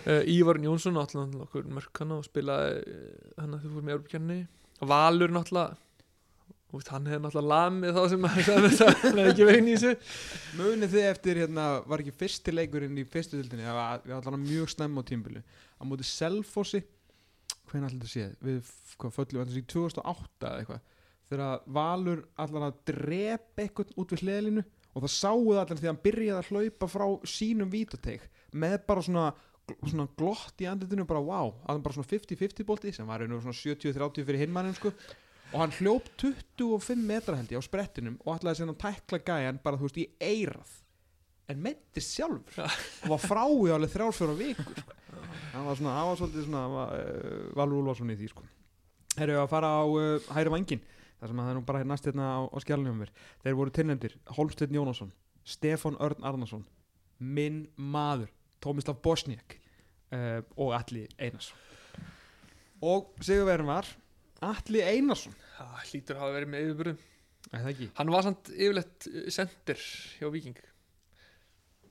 S4: uh, Ívar Jónsson náttúrulega nokkur mörk hann og spilaði eh, hann að þau fórum í Európkjarni Valur náttúrulega Út, hann hefði náttúrulega lamið þá sem hann sagði þetta, hann hefði ekki veginn í þessu
S2: munið þið eftir, hérna, var ekki fyrsti leikurinn í fyrstu dildinni, það var við allan mjög snemma á tímbili, á móti Selfossi hvernig allir þetta sé við, f- hvað föllum, þetta sé 2008 eða eitthvað, þegar Valur allan að drepa eitthvað út við hliðalínu og það sáuð allir því að hann byrjaði að hlaupa frá sínum vítateik með bara svona, svona glott í andlitinu bara wow, að hann bara svona 50-50 bolti sem var einu svona 70-30 fyrir hinmannum sko og hann hljóp 25 metra held ég á sprettinum og ætlaði síðan að tækla gæjan bara þú veist í eirað en meinti sjálfur og var frá í alveg þrjálfjóra vikur sko. hann var svona, hann var svolítið svona uh, Valur Úlfarsson í því sko Herru að fara á uh, hæri vangin þar sem að það er nú bara næst hérna á, á skjálunum mér þeir voru tilnefndir Holmsteinn Jónasson Stefan Örn Arnason minn maður Tómislav Bosniak uh, og Alli Einarsson og sigurverðin var Alli Einarsson
S4: Já, Hlýtur hafa verið með yfirbyrðum
S2: Er það ekki?
S4: Hann var samt yfirleitt eh, sendir hjá Víking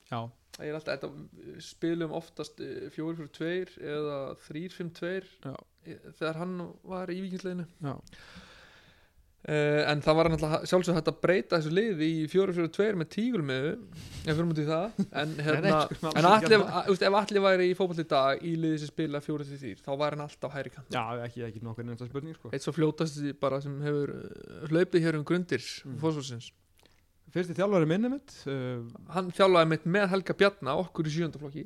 S2: Já.
S4: Það er alltaf, þetta eh, spilum oftast eh, 4-4-2 eða 3-5-2
S2: Já.
S4: eh, þegar hann var í Víkingsleginu
S2: Já.
S4: Uh, en það var náttúrulega sjálfsög hægt að breyta þessu liði í 4-4-2 með tígulmiðu en fyrir mútið það en, hérna,
S2: nei, sko,
S4: en
S2: alls ekki
S4: allir,
S2: að-
S4: að, úst, ef allir væri í fótball í dag í liði sem spila 4-3 þá var hann alltaf hægri kant
S2: Já, ekki, ekki nokkuð nefnda spurning sko.
S4: eitt svo fljótast bara sem hefur eh, hlaupið hér um grundir mm. fósfólksins
S2: Fyrsti þjálfari minni mitt uh,
S4: hann þjálfaði mitt með Helga Bjarna okkur í sjöndaflokki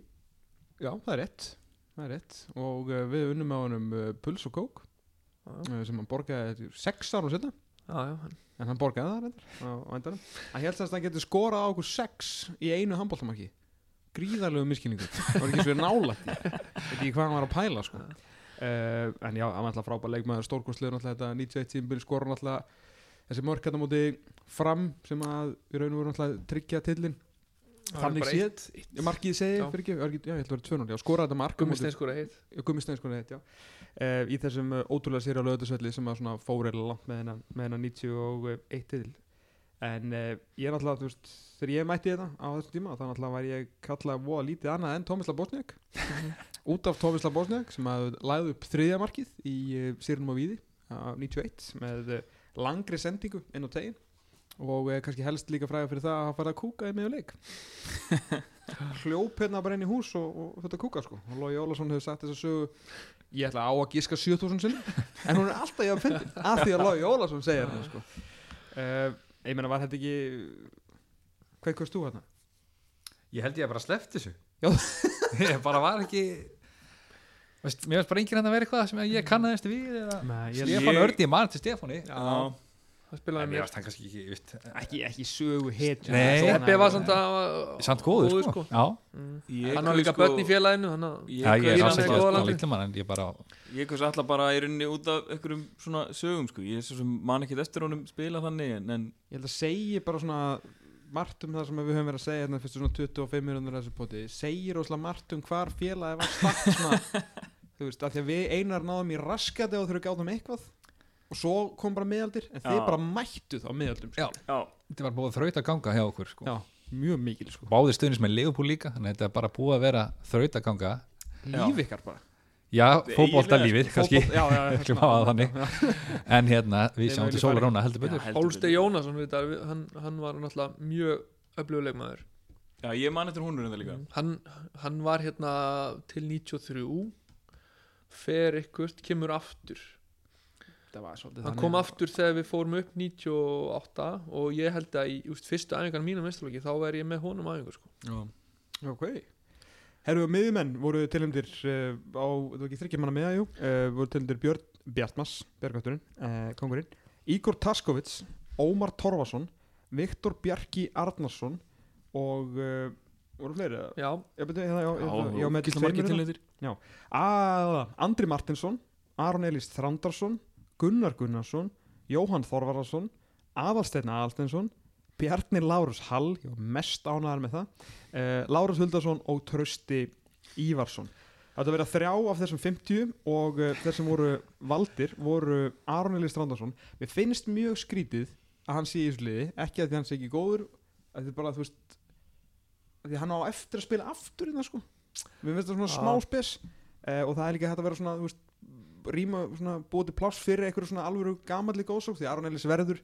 S2: Já, það er rétt Það er rétt Og uh, við unnum á honum uh, Puls og Kók
S4: Já.
S2: uh, sem hann borgaði sex árum setna
S4: já, já, hann-
S2: en hann borgaði það reyndar á, á endanum Hann held að hann getur skorað á okkur sex í einu handbóltamarki Gríðarlegu miskilningu Það var ekki svo nálætt í. Veit ekki hvað hann var að pæla sko. uh, En já, hann var alltaf frábær leikmaður stórkostlegur náttúrulega þetta 91 tímbil skora náttúrulega þessi mörk hérna á móti fram sem að í raun og voru náttúrulega tryggja tillin
S4: hann
S2: Þannig
S4: bara
S2: séð-
S4: eitt- eitt-
S2: Ég markið segi,
S4: Já.
S2: fyrir ekki, var ekki- já, ég ætla að vera 2-0 Já, skoraði þetta mark á móti-
S4: Gummistein skora heitt
S2: Gummisteins konar heitt, sko, já uh, í þessum uh, ótrúlega sér á löðursvelli sem að svona fórið langt með hennar, með hennar 91 til en uh, ég er náttúrulega, þú veist þegar ég mætti þetta á þessum tíma þá náttúrulega var ég kallað voða lítið annað en Tómisla Bosniak út af Tómisla Bosniak sem að læði upp þriðja markið í uh, sérnum á víði á 91 með uh, langri sendingu inn á tegin og uh, kannski helst líka fræða fyrir það að hafa farið að kúka í miðjum leik hljóp hérna bara inn í hús og, og þetta kúka sko og Lói Ólafsson hefur sagt þess að sögu ég ætla á að gíska 7000 sinni en hún er alltaf ég að finna af því að Lói Ólafsson segir hann sko uh, ég meina var þetta ekki hvað kvæst þú hérna?
S3: Ég held ég að bara sleppt þessu
S2: Já.
S3: Ég bara var ekki Veist, Mér veist bara enginn hann að vera eitthvað sem ég kannaðist við eða...
S2: Nei,
S5: ég-
S3: Stefán
S5: ég-
S3: Ördi, ég man til Stefáni
S5: Já,
S4: það
S3: En
S4: spilaði
S3: mér
S4: mér
S3: veist eh, hann kannski ekki vitt.
S2: ekki, ekki sögu hetju
S3: Nei.
S4: Steppi var samt að
S3: Samt góður sko. Já,
S4: Mm.
S5: ég
S4: hann var
S5: kaus
S4: líka
S5: sko-
S4: börn í félaginu hann að
S5: Ég
S3: já ég
S5: kaus-
S3: er
S4: hann
S3: sanns
S4: er
S3: ekki
S4: góða
S3: að
S4: landið.
S3: lítið mann sko, en ég bara
S5: sko- Ég kaus alltaf bara í rauninni út af einhverjum svona sögum sko Ég er svo sem man ekkert eftir honum spila þannig en, en
S2: ég held að segja bara svona margt um það sem við höfum verið að segja hérna fyrstu svona 25 minútur þessu poti segir óslega margt um hvar félagi var start svona þú veist, af því að við einar náðum í raskati og þurfum gáðum eitthvað og svo kom bara miðaldir en þið
S5: Já.
S2: bara mættuð á miðaldum
S3: Já.
S5: Já,
S3: Þetta var búið þraut að ganga hjá okkur sko.
S2: Já. mjög mikil sko.
S3: báðir stuðnins með Leopold líka þannig að þetta er bara búið að vera þrautaganga
S2: líf ykkar bara
S3: já, fótbolta lífið kannski
S2: Fótbolt- já, já, já,
S3: Ætlum að hafa það þannig. en hérna, við
S2: Nema
S3: sjáum til
S2: vilji
S3: Sólar Róna heldur betur
S5: heldur
S4: Hólste
S5: betur.
S4: Jónasson við þetta, við- hann, hann var náttúrulega mjög öflugulegmaður
S5: Já, ég man eftir húnur en það líka
S4: hann, hann var hérna til 93 fer ykkurt, kemur aftur
S2: það var svolítið
S4: hann kom aftur þegar við fórum upp 98 og ég held að í úst, fyrstu æfingarna mínum mestalóki þá er ég með honum æfingar sko.
S2: ok Herru, miðjumenn voru tilhendir uh, á, þú ekki þryggja manna miða, jú, uh, voru tilhendir Björn Bjartmas, Björgvætturinn, uh, kongurinn, Ígor Taskovits, Ómar Torfason, Viktor Bjarki Arnarsson og uh, voru fleiri, eða?
S4: já,
S2: já, betur, hérna, já, já, já, já, já, með
S5: gísla
S2: tveimur
S5: margir
S2: hérna.
S5: tilhendir
S2: Aða, Andri Martinsson, Aron Elís Þrandarsson, Gunnar Gunnarsson, Jóhann Þorvararsson, Aðalsteinn Aðalsteinsson, Bjarni Lárus Hall, ég var mest ánæðar með það, uh, Lárus Huldarsson og Trösti Ívarsson. Þetta verið þrjá af þessum 50 og uh, þeir sem voru valdir voru Aron Elís Þrandarsson. Mér finnst mjög skrítið að hann sé í þessu liði, ekki að því hann sé ekki góður, að því bara, þú veist, að því hann á eftir að spila aftur í það, sko. Mér finnst það svona
S4: Já.
S2: smá spes uh, og það er líka hægt að vera svona, þú veist, rýma, svona, búið til pláss fyrir einhverju svona alvöru gamalli góðsók því Aron Elís verður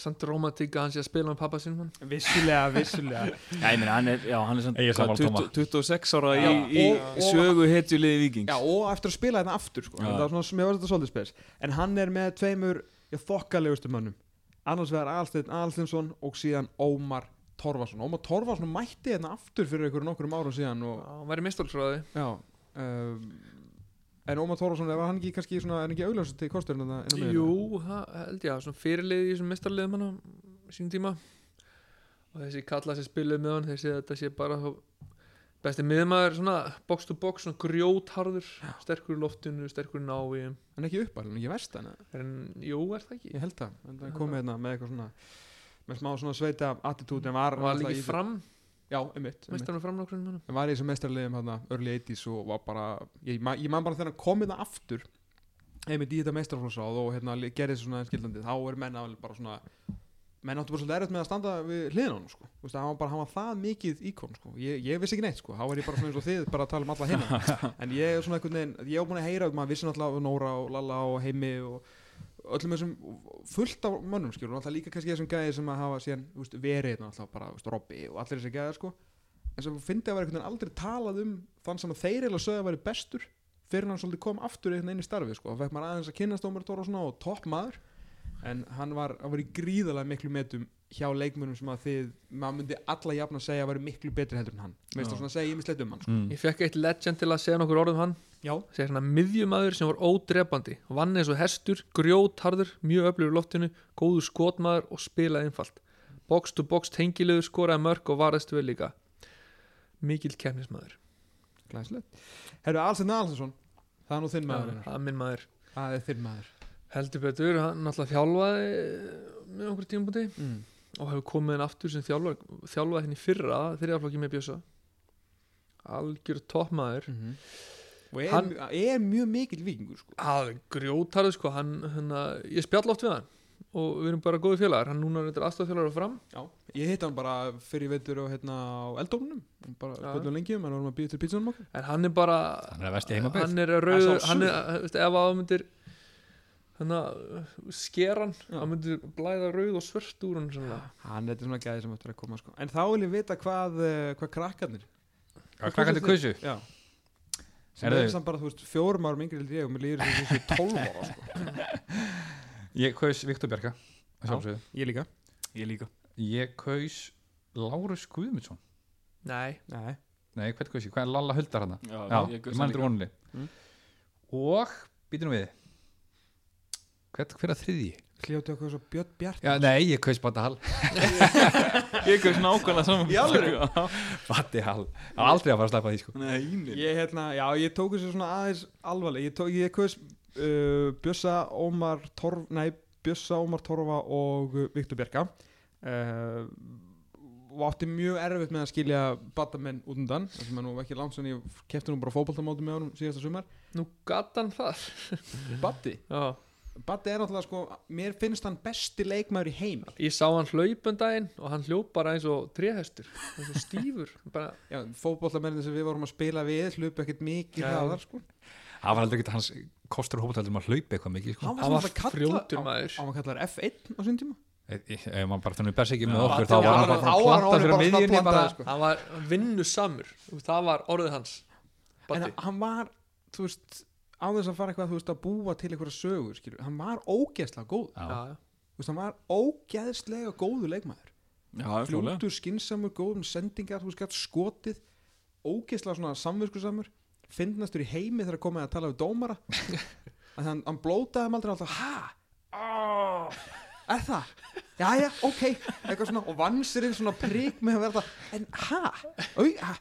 S4: samt romantík að hann sé að spila með pappa sinn mann.
S2: Vissulega, vissulega
S5: Já, ég meina, hann er, já, hann er samt
S3: Ég er sammála
S5: hvað, 20
S3: Tóma.
S5: 26 ára í,
S2: Já,
S5: í
S2: og- og-
S5: sögu hetjuliði
S2: Já,
S5: vikings
S2: og eftir að spila þetta aftur sko.
S5: Já.
S2: það er svona, mér var þetta svolítið spes en hann er með tveimur, já, þokkalegustu mönnum annars vegar Alsteinn Alsteinsson og síðan Ómar Torfarsson Ómar Torfarsson mætti hérna aftur fyrir einhverju nokkrum árum síðan
S4: Já,
S2: og,
S4: hann væri mistálsráði
S2: já, um, en Ómar Torfarsson var hann ekki kannski svona, en ekki augljósast til kosturinn þarna inn á miðjuna?
S4: Jú, það held ég að svona fyrirlið í þessum mestarliðum hann sínum tíma og þessi kalla sem spiluð með hann þessi þetta sé bara þá besti miðmaður svona box to box svona grjótharður, sterkur í loftinu sterkur í návíum,
S2: en ekki uppalinn, ekki vestan
S4: en jú er það ekki
S2: ég held það, en það komið hérna með eitthvað svona með smá svona sveita attitúti en var,
S4: hann var
S2: alltaf
S4: líka
S2: í-
S4: í fram,
S2: já, einmitt, einmitt.
S4: mestarinn fram nokkur
S2: En var í þessum mestrarlegum hérna, early 80s og var bara, ég, ma- ég man bara þegar hann kom hérna aftur einmitt í þetta mestrarflóðsáð og hérna li- gerði þessu svona skildandi, þá er menn alveg bara svona menn áttu bara svolítið erfitt með að standa við hliðin á hann sko, þú veist að hann var bara, hann var það mikið íkon sko, ég, ég vissi ekki neitt sko, þá er ég bara svona eins og þið bara að tala um alla hérna en ég er svona einhvern veginn, ég er búin að heyra maður vissi náttúrulega um Nóra og Lalla og Heimi og öllum þessum fullt af mönnum skilur, og alltaf líka kannski þessum gæði sem að hafa síðan, þú veist, verið hérna alltaf bara, þú veist, Robby og allir þessi gæði sko en sem fyndi að vera einhvern veginn aldrei talað um þann sem að þeir eiginlega sögðu að vera bestur fyrir hann svolítið kom aftur einhvern veginn í starfi sko. og fekk maður aðeins að kynast Ómar Tórásson og topp maður en hann var, hann var í gríðalega miklu metum hjá leikmönum sem að þið maður myndi alla jafn að segja að vera miklu betri heldur en hann veist það
S5: Já.
S2: svona að segja ymislegt um hann sko.
S3: Mm.
S4: ég fekk eitt legend til að segja nokkur orðum hann
S2: já,
S4: segja hérna miðjumaður sem var ódrepandi vann eins og hestur, grjótharður mjög öflugur í loftinu, góður skotmaður og spilaði einfalt box to box tengilegur, skoraði mörg og varðist vel líka mikill kemnismaður
S2: glæsilegt herru, Alsen Alsensson, það er nú þinn maður
S4: það er minn maður
S2: það er þinn maður
S4: heldur betur, hann náttúrulega þjálfaði eh, með okkur tímabúti
S2: mm.
S4: og hefur komið henn aftur sem þjálfaði, þjálfaði henni fyrra þriðaflokki með Bjösa algjör toppmaður
S2: Mhm. og er,
S4: Hann-
S2: er mjög mikil vikingur sko.
S4: að grjótarðu sko hann, hann, ég spjall oft við hann og við erum bara góði félagar, hann núna er aðstofþjólar á fram
S2: já, ég hitt hann bara fyrir veitur og hérna á eldónunum bara
S4: Já.
S2: spilum lengi um, hann varum að býja til pítsunum okkar
S4: en hann er bara
S3: Hann er að versta í heimabæð.
S4: hann er
S2: Að
S4: rauður
S2: sjálfsögðu.
S4: hann er, þú veist, ef að myndir þannig að skeran
S2: Já.
S4: hann myndir blæða rauð og svört úr hann svona.
S2: Hann, þetta er svona gæði sem ættir að koma sko. En þá vil ég vita hvað, uh, hvað krakkarnir
S3: Hvað krakkandi kausu?
S2: Já Sem
S3: Herðu.
S2: er samt bara, þú veist, fjórum árum yngri heldur ég og mér líður þessu þessu 12 ára sko.
S3: Ég kaus Viktor Bjarka að
S2: Já.
S3: sjálfsögðu.
S2: Ég líka
S5: Ég líka
S3: Ég kaus Lárus Guðmundsson
S4: nei,
S2: Nei
S3: Nei, hvernig kaus ég? Hvað er Lalla Huldar hann?
S5: Já,
S3: Já,
S5: ég
S3: ég
S5: gaus hann
S3: mann þetta
S5: líka.
S3: vonli
S2: Mm.
S3: Og, býtum við Hvert, hver að þriðji?
S2: Hljóti okkur svo Björn Bjart
S3: Já, nei, ég kaus Bata Hall
S5: Ég gauð nákvæmlega saman
S2: Í alvöru?
S3: Bata Hall, það var aldrei að fara að sleppa því sko
S5: Nei, nei
S2: Ég, hérna, já, ég tók þessu svona aðeins alvarleg Ég, tók, ég kaus uh, Bjössa Ómar Torf Nei, Bjössa Ómar Torfa og uh, Viktor Bjarka uh, og átti mjög erfitt með að skilja badamenn út undan þar sem er nú ekki langt sem ég kefti nú bara fótboltamóti með honum síðasta sumar
S4: nú gata hann það
S2: Batti?
S4: já,
S2: Batti er náttúrulega sko, mér finnst hann besti leikmaður í heimi
S4: Ég sá hann hlaupundaginn og hann hljóp bara eins og tréhestur, eins og stífur bara,
S2: Já, fótbollamennin sem við vorum að spila við hlupu ekkert mikið
S4: Já.
S2: hraðar sko
S3: Það var heldur ekki hans kostur hópatöldum að hlaupa eitthvað mikið sko.
S4: Hann
S2: svona
S4: var
S2: alltaf kallaður-
S4: frjótur
S2: hann-
S4: maður.
S2: Hann var kallar F1 á sinn tíma
S3: Ef ef maður bara þannig best ekki með
S5: Já,
S3: okkur
S5: Batti
S3: þá var
S2: var
S3: hann
S2: bara-
S3: bara
S2: þá var hann
S3: plantað
S2: bara
S3: fyrir
S2: svona
S3: miðjunni bara
S2: plantaður, sko.
S4: hann var vinnusamur og það var orðið hans
S2: En
S4: Baddi.
S2: hann var, þú veist á þess að fara eitthvað, þú veist, að búa til einhverja sögur, skilur, hann var ógeðslega góð
S3: Já.
S4: Já, já.
S2: þú veist, hann var ógeðslega góðu leikmaður
S5: Já, það er klólega
S2: fljótur, skinsamur, góðum sendingar þú veist, gætt skotið ógeðslega svona samviskusamur fyndnastur í heimi þegar komið að tala við dómara að hann, hann blótaði þeim aldrei alltaf ha, oh, er það jæja, ok, eitthvað svona og vansirinn svona prík með að vera það en ha, au, ha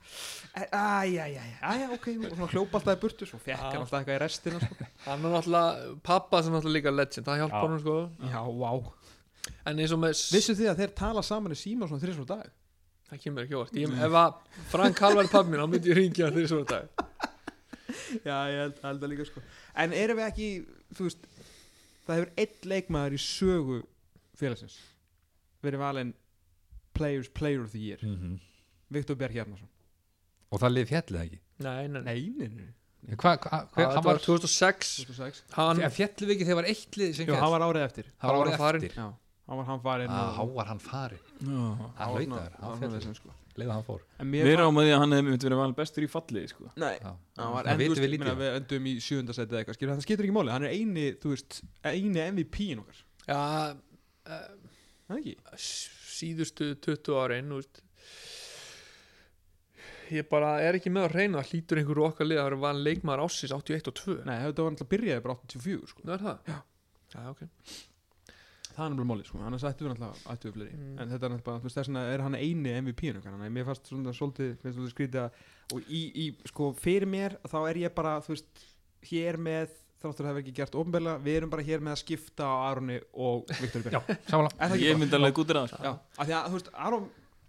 S2: æja, æja, æja, ok og svona hljópa alltaf í burtu, svo fekk hann alltaf eitthvað í restina sko.
S4: hann var náttúrulega pappa sem náttúrulega líka legend, það hjálpa
S3: Já.
S4: hann sko
S2: já, vá
S4: en eins og með,
S2: vissu þið að þeir tala saman í síma svona þrjum svona dag
S4: það kemur ekki óvart
S2: Mm.
S4: ég, ef að Frank Hall var pappi minn, þá myndi ég ringja þeir svona dag
S2: Já, ég held, held að líka sko En erum við ekki, þú veist Það hefur einn leikmaður í sögu félagsins verið valinn Players Player of the Year
S3: Mhm.
S2: Viktor Bjarki Arnarsson
S3: og það liði fjallið ekki
S4: nei, nei, nei.
S2: Neinin
S3: Hva, hva, hver,
S4: það
S3: hann
S4: var
S3: var,
S4: 2006
S2: 2006
S4: hann,
S3: fjallið ekki þegar var eitt lið sem
S2: Jú, hann var árið eftir
S3: það
S4: hann
S3: var
S4: var
S3: árið
S4: farinn.
S3: eftir
S2: Já, hann var hann farinn
S3: Ah,
S2: og-
S3: Há var hann farin
S2: hann
S3: hlaut
S2: svona-
S3: að vera, hann
S2: hann
S3: féll.
S2: var þessum, sko.
S3: leiða hann fór
S2: En mér
S5: Við
S2: fannst-
S5: rámaði að hann hefði myndi verið valin bestur í falli sko.
S2: Nei,
S3: Já.
S2: hann var
S3: Það
S2: en, þú
S3: vitum
S2: veist,
S3: við
S2: ég meina,
S3: lítið
S2: við endum í sjöundasæti eða eitthvað skilur, það skiptir ekki máli, hann er eini, þú veist eini MVP-in okkar,
S4: já,
S2: Er það ekki?
S4: eh, síðustu 20 árin þú veist ég bara er ekki með að reyna það hlýtur einhverju okkar lið að vera vann leikmaður ásins 81 og 2
S2: Nei, þetta var alltaf byrjaði bara 84 sko
S4: Nú er það? Já, já ok
S2: það er náttúrulega máli sko, annars ættum við náttúrulega ættum við fleiri,
S4: Mm.
S2: en þetta er náttúrulega þú veist, þess vegna er hann eini MVP-n okkar þannig að mér fannst svona svolítið, finnst þú skrítið að og í, í, sko, fyrir mér þá er ég bara, þú veist, hér með þráttur að það hefur ekki gert ofnbegla, við erum bara hér með að skipta á Aroni og Viktor Björn,
S3: Sammála.
S2: er
S5: Ég
S2: það ekki bara?
S5: myndi alveg gútir að það sko.
S2: Já, af því að, þú veist, Aron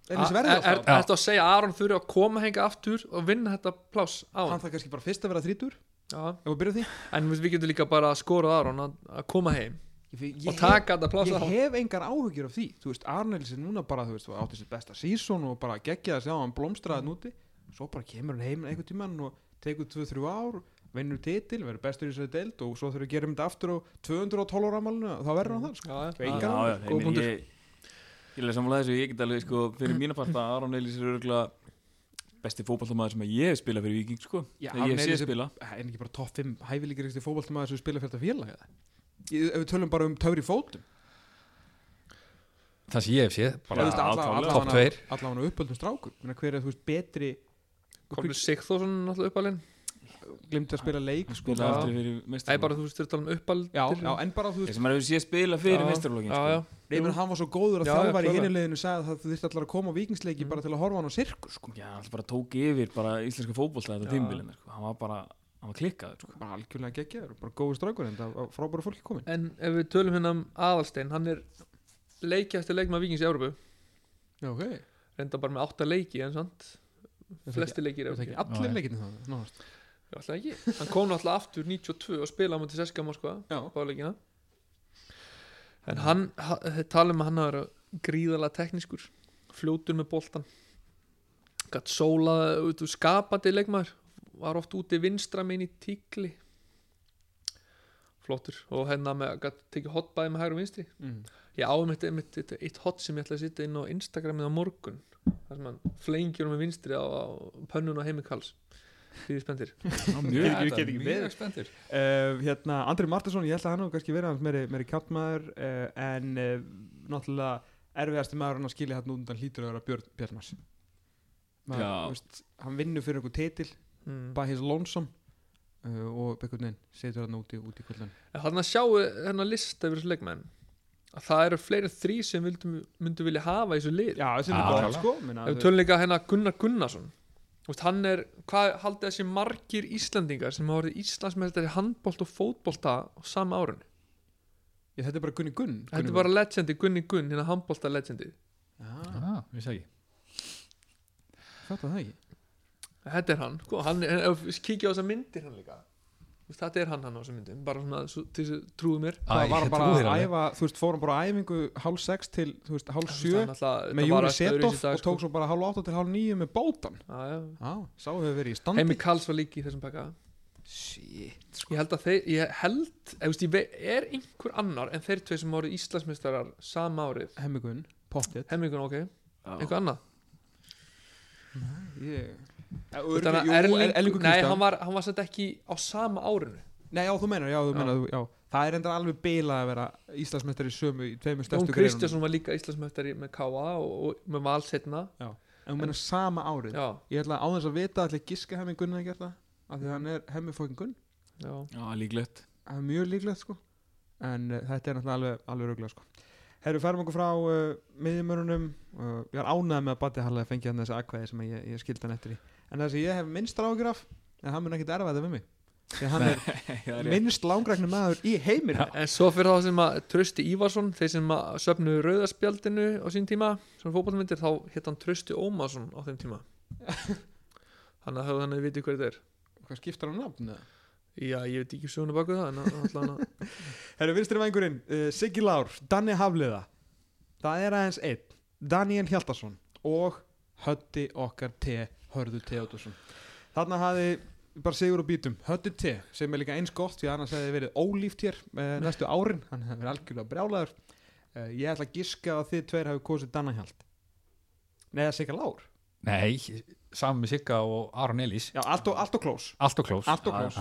S2: er þessi verðið
S4: Ah, Er
S2: alltaf,
S4: þetta að segja að Aron þurfi að koma henga aftur og vinna þetta pláss á hann?
S2: hann þarf kannski bara fyrst að vera þrítur,
S4: Já.
S2: ef við byrjum á því
S4: En við, við getum líka bara að skora Aron að, að koma heim
S2: Ég-
S4: og
S2: ég hef-
S4: taka þetta pláss á
S2: ég
S4: hann
S2: hef engar áhugjur af því þú veist, Arnels er núna bara, þú veist, átti sér besta sísón og bara geggjaði að sjá hann blómstraði
S5: Mm.
S2: hann úti svo bara kemur hann heim einhvern tímann og tekur 2-3 ár, vinnur titil verður bestur í þessari deild og svo þurfum við að gera um þetta aftur á 212 ára málinu og þá
S5: Mm.
S2: verður hann það, sko
S4: Já,
S2: Ég
S4: já.
S2: hef engan
S5: Já,
S2: áhuga.
S5: já, ég
S4: Góð
S5: meina,
S4: punktur.
S5: ég- Ég leði samanlega þessu, ég get alveg sko, fyrir mína part að Aron Eilis er örgulega besti fótballamaður sem að ég hef spilað fyrir Víking sko.
S2: Já,
S5: Þegar ég
S2: Aron
S5: sé
S2: Elís er-
S5: spila
S2: en ekki bara topp 5 hæfileikaríksti fótballtamaður sem spila fyrir þetta félag eða? Ég- ef við tölum bara um töfri fótum
S3: það sem ég hef séð
S2: Eða, þú
S3: bara
S2: veist, alla-
S5: klálega.
S2: alla
S3: Topp
S2: vegana-
S3: tveir.
S2: alla hann á uppöldum strákur Ég meina, hver er þú veist betri
S4: Kolbjörn Sigþórsson er náttúrulega uppalinn
S2: glimti að spila leik sko.
S5: spila
S4: Já.
S5: aldrei fyrir
S4: Það er
S5: mestarflokk
S4: bara þú veist þetta um uppalinn
S2: já, já, en bara þú veist
S5: Ég sem maður hefur sé spila fyrir mestarflokkin
S4: Já, já,
S5: sko.
S2: Nei, menn hann var svo góður að
S4: Já, já,
S2: þjálfari í
S4: klárlega.
S2: hinu liðinu sagði að það þurfti allar að koma á vikingsleiki bara til að horfa á hann á sirkus sko.
S5: Já, hann bara tók yfir bara íslenska fótballta þetta
S4: Já.
S5: tímbilin sko. Hann var bara, hann var klikkaður sko.
S2: bara algjörlega geggjaður, og bara góður strákur en það frábæra fólki komin
S4: En ef við tölum hérna um Aðalstein hann er leikjast leikmaður Víkings í Európu
S2: Já, ok, er
S4: reynda bara með átta leiki en sant
S2: það
S4: flesti leikir
S2: ekki-
S4: í
S2: er það
S4: Evrópu.
S2: ekki allir
S3: Já, já.
S2: leikinu það, náðast
S4: Já, Alltaf ekki, hann kom náttúrulega aftur 92 og spilaði á mútið Seska Moskva
S2: Já,
S4: báleikina en hann, ha- þeir tala um að hann að vera gríðalega teknískur fljótur með boltan gætt sóla, út, skapandi leikmaður var oft úti vinstra minn í tíkli flottur og hérna með gætt tekið hotbæði með hægri og vinstri
S2: mm.
S4: ég áum eitt, eitt, eitt, eitt hot sem ég ætla að sitja inn á Instagramið á morgun þar sem hann flengir með vinstri á, á pönnun og heimikals því við spendir
S2: Ég- ég get
S3: Þetta er
S2: ekki beðið.
S3: mjög spenntur
S2: uh, Hérna, Andri Martinsson, ég held að hann hefur kannski verið hans meiri, meiri kjáttmaður uh, en uh, náttúrulega erfiðasti maður hann að skilja hann undan hlýtur að vera Björn Bjarnars maður,
S5: Já.
S2: þú veist, hann vinnur fyrir einhver titil
S4: mm.
S2: by his lonesome uh, og einhvern veginn setur hann úti, úti í kvöldan
S4: En Þannig að sjáu þennan lista yfir þessu leikmenn að það eru fleiri en þrý sem vildum, myndu vilja hafa í þessu lið
S2: Já, þessi er
S3: Já,
S2: líka
S3: klálega.
S2: orð, sko menna,
S4: ef við tölum líka hérna Gunnar Gunnarsson Þú veist, hann er, hvað haldið þessi margir Íslendingar sem hafa orðið Íslandsmeistari í handbólt og fótbolta á sama árunni
S2: Já, þetta er bara Gunni Gunn
S4: þetta er bara legendi, Gunni Gunn, hérna handbólta legendi
S2: Já,
S3: ah, vissi það ekki.
S2: þetta það ekki
S4: þetta er hann, sko, hann er, ef við kíkja á þessa myndir hann líka Þú veist, þetta er hann hann á þessum myndum bara svona svo, til þess að trúðu mér
S3: Æ,
S2: það var
S3: ég
S2: bara
S3: trúi þér
S2: að
S3: alveg.
S2: æfa þú veist, fórum bara á æfingu hálf sex til þú veist, hálf sjö
S4: Þannig að
S2: með Júri Setoff
S4: dag,
S2: og tók
S4: sko.
S2: svo bara hálf átta til hálf níu með bótan
S4: Já, já.
S2: ah, sá hefur verið í standi
S4: Heimi Karls var líki í þessum pakka
S2: shit
S4: ég held að þeir, ég held ég veist, ég vei, er einhver annar en þeir tvei sem voru Íslandsmeistarar sama árið
S2: hemmigun, pottet
S4: Hemmingun, ok,
S5: Já.
S4: einhver annað
S2: yeah.
S4: Þannig að Erling, nei, hann var, hann var sett ekki á sama árinu
S2: nei, já, þú meinar, já, þú
S4: Já.
S2: meinar, þú- já það er enda alveg bila að vera Íslandsmeistari í sömu í tveimur
S4: Jón
S2: stærstu
S4: Kristjánsson var líka Íslandsmeistari með K.A. og, og með val setna
S2: en þú meinar sama árið
S4: Já,
S2: ég ætla á þess að vita allir giska hemmigun að gera það af því að hann er hemmifókin gunn
S4: já
S5: Já, líklegt
S2: það er mjög líklegt sko en uh, þetta er náttúrulega alveg, alveg röglega sko Herru, færum okkur frá uh, miðjumörunum uh, ég var ánægð með að Batti Halla fengi hann þessi akkvæði sem ég, ég skildi hann eftir í en það sem ég hef minnst rákjur af en hann mun ekkit erfa þetta með mig því að hann er
S5: Já, rétt.
S2: minnst langræknu maður í heiminum
S4: En svo fyrir þá sem að Trösti Ívarsson þeir sem að söfnu rauðaspjaldinu á sín tíma, sem fótballmyndir þá hétt hann Trösti Ómarsson á þeim tíma Þannig að höfðu hann að viti hver þetta er
S2: hvað skiptar hann nafn? eða?
S4: Já, ég veit ekki söguna baku það en að- alltaf hann að
S2: Herru, vinstri vængurinn, uh, Siggi Lár, Danni Hafliða það er aðeins einn Daniel Hjaltarsson og Hötti okkar T, Hörðu Teodorsson þarna hafði bara sigur og bítum, Hötti T sem er líka eins gott því að annars hefði verið ólíft hér uh, næstu árin, hann hefði verið algjörlega brjálaður uh, ég ætla að giska að þið tveir hafi kosið Danna Hjalt neða Siggi Lár
S3: Nei, saman með Sigga og Aron Elís
S2: já, allt og, allt og klós
S3: Allt og klós
S2: Allt og klós.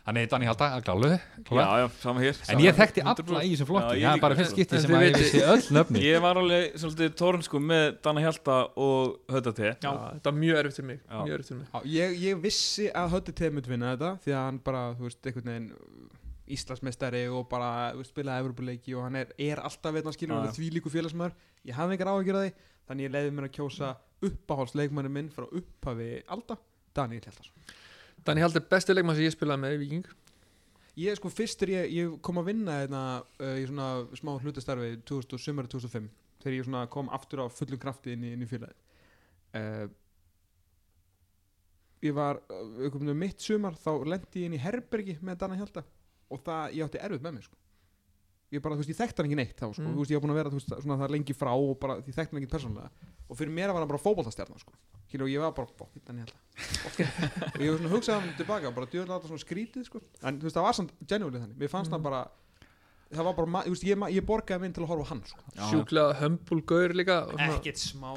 S3: Þannig Dani Halda, klálu
S5: Já, já, sama hér
S3: En
S5: sama
S3: ég þekkti
S5: 100%.
S3: alla í þessum
S5: Já,
S3: flokki
S5: ég
S3: Það er
S5: líka.
S3: bara fyrst
S4: En
S3: skipti sem
S4: þið
S3: að ég
S4: vitið-
S3: vissi öll nöfni
S5: Ég var alveg svolítið tórn sko með Danna Hjalta og Hötati
S4: Já, Þetta var mjög erfitt fyrir mig,
S5: Já.
S4: mjög erfitt fyrir mig
S2: Já, ég, ég vissi að Hötti T mynd vinna þetta því að hann bara, þú veist, einhvern veginn uh, Íslandsmeistari og bara þú veist, spilaði Evropuleiki og hann er, er alltaf veitna skilur
S5: Já,
S2: hann er því líku félagsmaður, ég hafði engar áhyggjur af því þannig ég leiði mér að kjósa uppáhaldsleikmanni minn frá upphafi alda Daniel Hjaltarsson.
S4: Þannig haldið besti leikmann sem ég spilaði með í Viking
S2: Ég sko fyrst er ég, ég kom að vinna þetta uh, í svona smá hlutastarfi 2000, sumari 2005 þegar ég svona kom aftur á fullum krafti inn í, inn í félagi uh, ég var uh, einhvern veginn um mitt sumar þá lendi ég inn í herbergi með Danna Hjalda og það, ég átti erfitt með mig sko. ég bara, þú veist, ég þekkti hann ekki neitt þá, sko.
S4: Mm.
S2: þú veist, ég var búin að vera þú veist, svona það lengi frá og bara, ég þekkti hann ekki persónlega og fyrir mér var hann bara fótboltastjarnar sko. Kíló, ég var bara, bók, Danna Hjalda Fuck. og ég var svona hugsaði hann tilbaka bara djöðlega alltaf svona skrítið, sko en þú veist, það var samt genuinely þannig, mér fannst það bara það var bara, ma- þú veist, ég, ma- ég borgaði minn til að horfa á hann, sko.
S4: Sjúklega hömbul gaur líka og svona-
S2: smá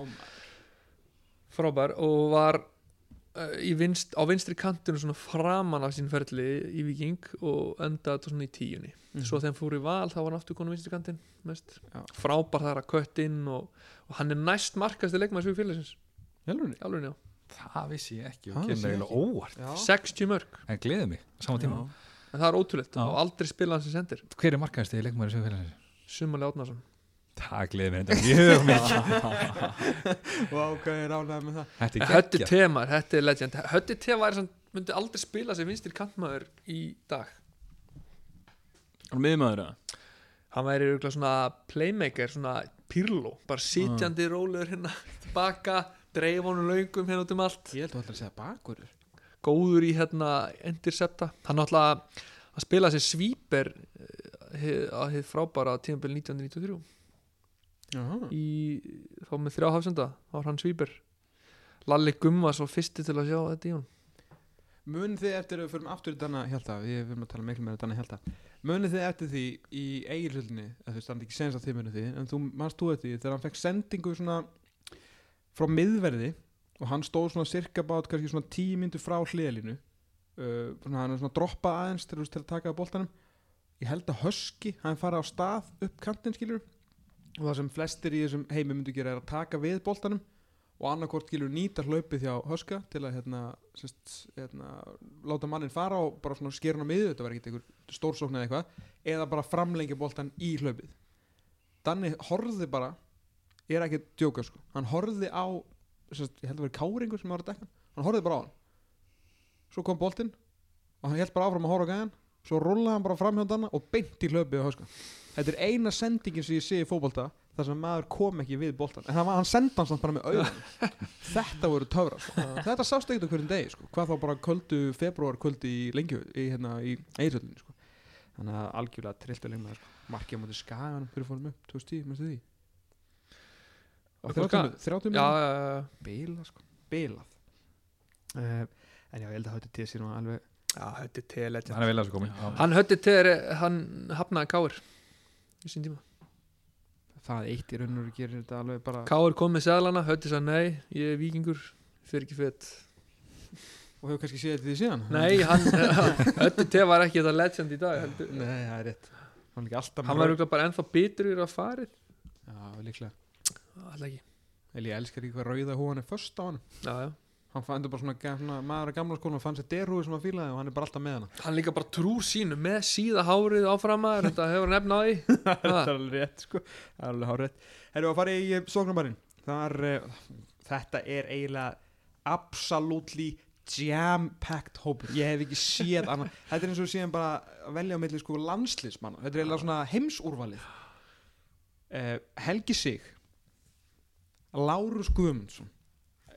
S4: frábær og var uh, í vinst, á vinstri kantinu svona framan af sín ferli í Viking og endaði þetta svona í tíunni svo þegar hann fór í val þá var hann aftur konum vinstri kantin mest.
S2: Mhm. Já.
S4: frábær þar að kött inn og, og hann er næst markasti leikmaður svo í félagsins
S2: Hjálfurni?
S4: í alveg njá,
S3: Það vissi ég ekki
S2: Það
S3: og
S2: vissi
S3: kemur
S2: ég
S3: eiginlega óvart
S2: Já.
S4: 60 mörg
S3: En gleði mig á sama tíma
S4: en það er ótrúlegt
S3: Já.
S4: og aldrei spila hann sem sendir
S3: Hver er markaðist í leikmæri sem félagsins?
S4: Sumali Átnarsson
S3: Það gleði mér þetta mjög mér
S2: Vá, hvað ég er ánægð með það
S3: Þetta
S4: En
S3: er
S4: Hötti
S3: geggja
S4: Temar, þetta er legend Hötti Temar myndi aldrei spila sem vinstri kantmaður í dag
S5: Og miðmaður eða?
S4: hann væri auðvitað svona playmaker svona pyrló, bara sitjandi rólegur hérna baka, dreif honum laungum hérna út um allt,
S2: Ég held að þú ætlar að segja bakurur
S4: góður í hérna intercepta, hann náttúrulega að spila eh, sér svíper að þið frábæra tímabil 1993
S2: Jaha.
S4: í, þá með þrjá hafsenda þá var hann svíper Lalli Gumma svo fyrsti til að sjá þetta í hún
S2: Munið þið eftir að við förum aftur í Danna Hjalta Við erum að tala miklu með Danna Hjalta Munið þið eftir því í eigirhjöldinni Þú veist, hann er ekki senst að þið munið því En þú manst þú eftir því þegar hann fekk sendingu svona Frá miðverði Og hann stóð svona cirka bát Kannski svona tíu myndu frá hliðalínu uh, svona, Hann er svona droppað aðeins til, þú veist, til að taka að boltanum Ég held að Höski Hann fara á stað upp kantinn skilur Og það sem flestir í þessum heimi myndu gera er að taka við boltanum og annarkort skilur nýta hlaupið hjá Höska til að hérna, sest, hérna, láta mannin fara og bara svona skera hann á miðu, þetta var ekkert einhver stórsókn eða eitthvað eða bara framlengja boltan í hlaupið Danni horfði bara ég er ekki að djóka sko hann horfði á, sest, ég held að vera káringur sem var að dekka, hann horfði bara á hann svo kom boltinn og hann held bara áfram að horfa á gæðan svo rúlaði hann bara fram hjá Danna og beint í hlaupið á Höska þetta er eina sendingin sem ég sé í fótbolta þar sem maður kom ekki við boltan en hann, var- hann sendi hann samt bara með auðan þetta voru töfra sko. þetta sást ekkert á hverjum degi sko. hvað þá bara köldu februar kvöldi í lengju í, hérna, í eirsöldinu sko. þannig að algjörlega trilltu leikmaður sko. markið á móti skagan fyrir fórum upp 2010, mennstu því Á
S4: Upp á
S2: 30 30
S4: já,
S2: mínútum?
S4: já, já, já.
S2: bilað sko, bilað uh, en já, ég held að þetta til síðan alveg
S4: já, þetta er telegend
S3: hann er vel að þessu komin Já.
S4: Hann hötti til hann hafnaði Káir í sín tíma
S2: það eitt í raun og veru gerir þetta alveg bara
S4: Káir kom með seglana, hötti sagði nei, ég er vikingur fyrir ekki fett
S2: og hefur kannski séð þetta því síðan
S4: Nei, hann, hötti til var ekki þetta legend í dag heldur.
S2: Nei, það er rétt hann er ekki alltaf
S4: Hann var örugglega bara ennþá bitur yfir að farið
S2: já, líklega
S4: Alltaf ekki
S2: Eli, ég elskar ekki hvað rauða hóðan er först á hann
S4: já, já.
S2: hann fann þetta bara svona, ga- svona maður að gamla skólanum fann sér derhúi sem hann fílaði og hann er bara alltaf með hana
S4: Hann líka bara trúr sínu með síða hárið áframar Þetta hefur hann efna á því
S2: það er alveg rétt sko það er alveg hárétt erum við að fara í sóknarbarinn þar uh, þetta er eiginlega absolutely jam-packed hópur ég hef ekki séð annað þetta er eins og séðan bara að velja á milli sko landslismann þetta er eiginlega svona heimsúrvalið uh, Helgi Sig Lárus Guðmundsson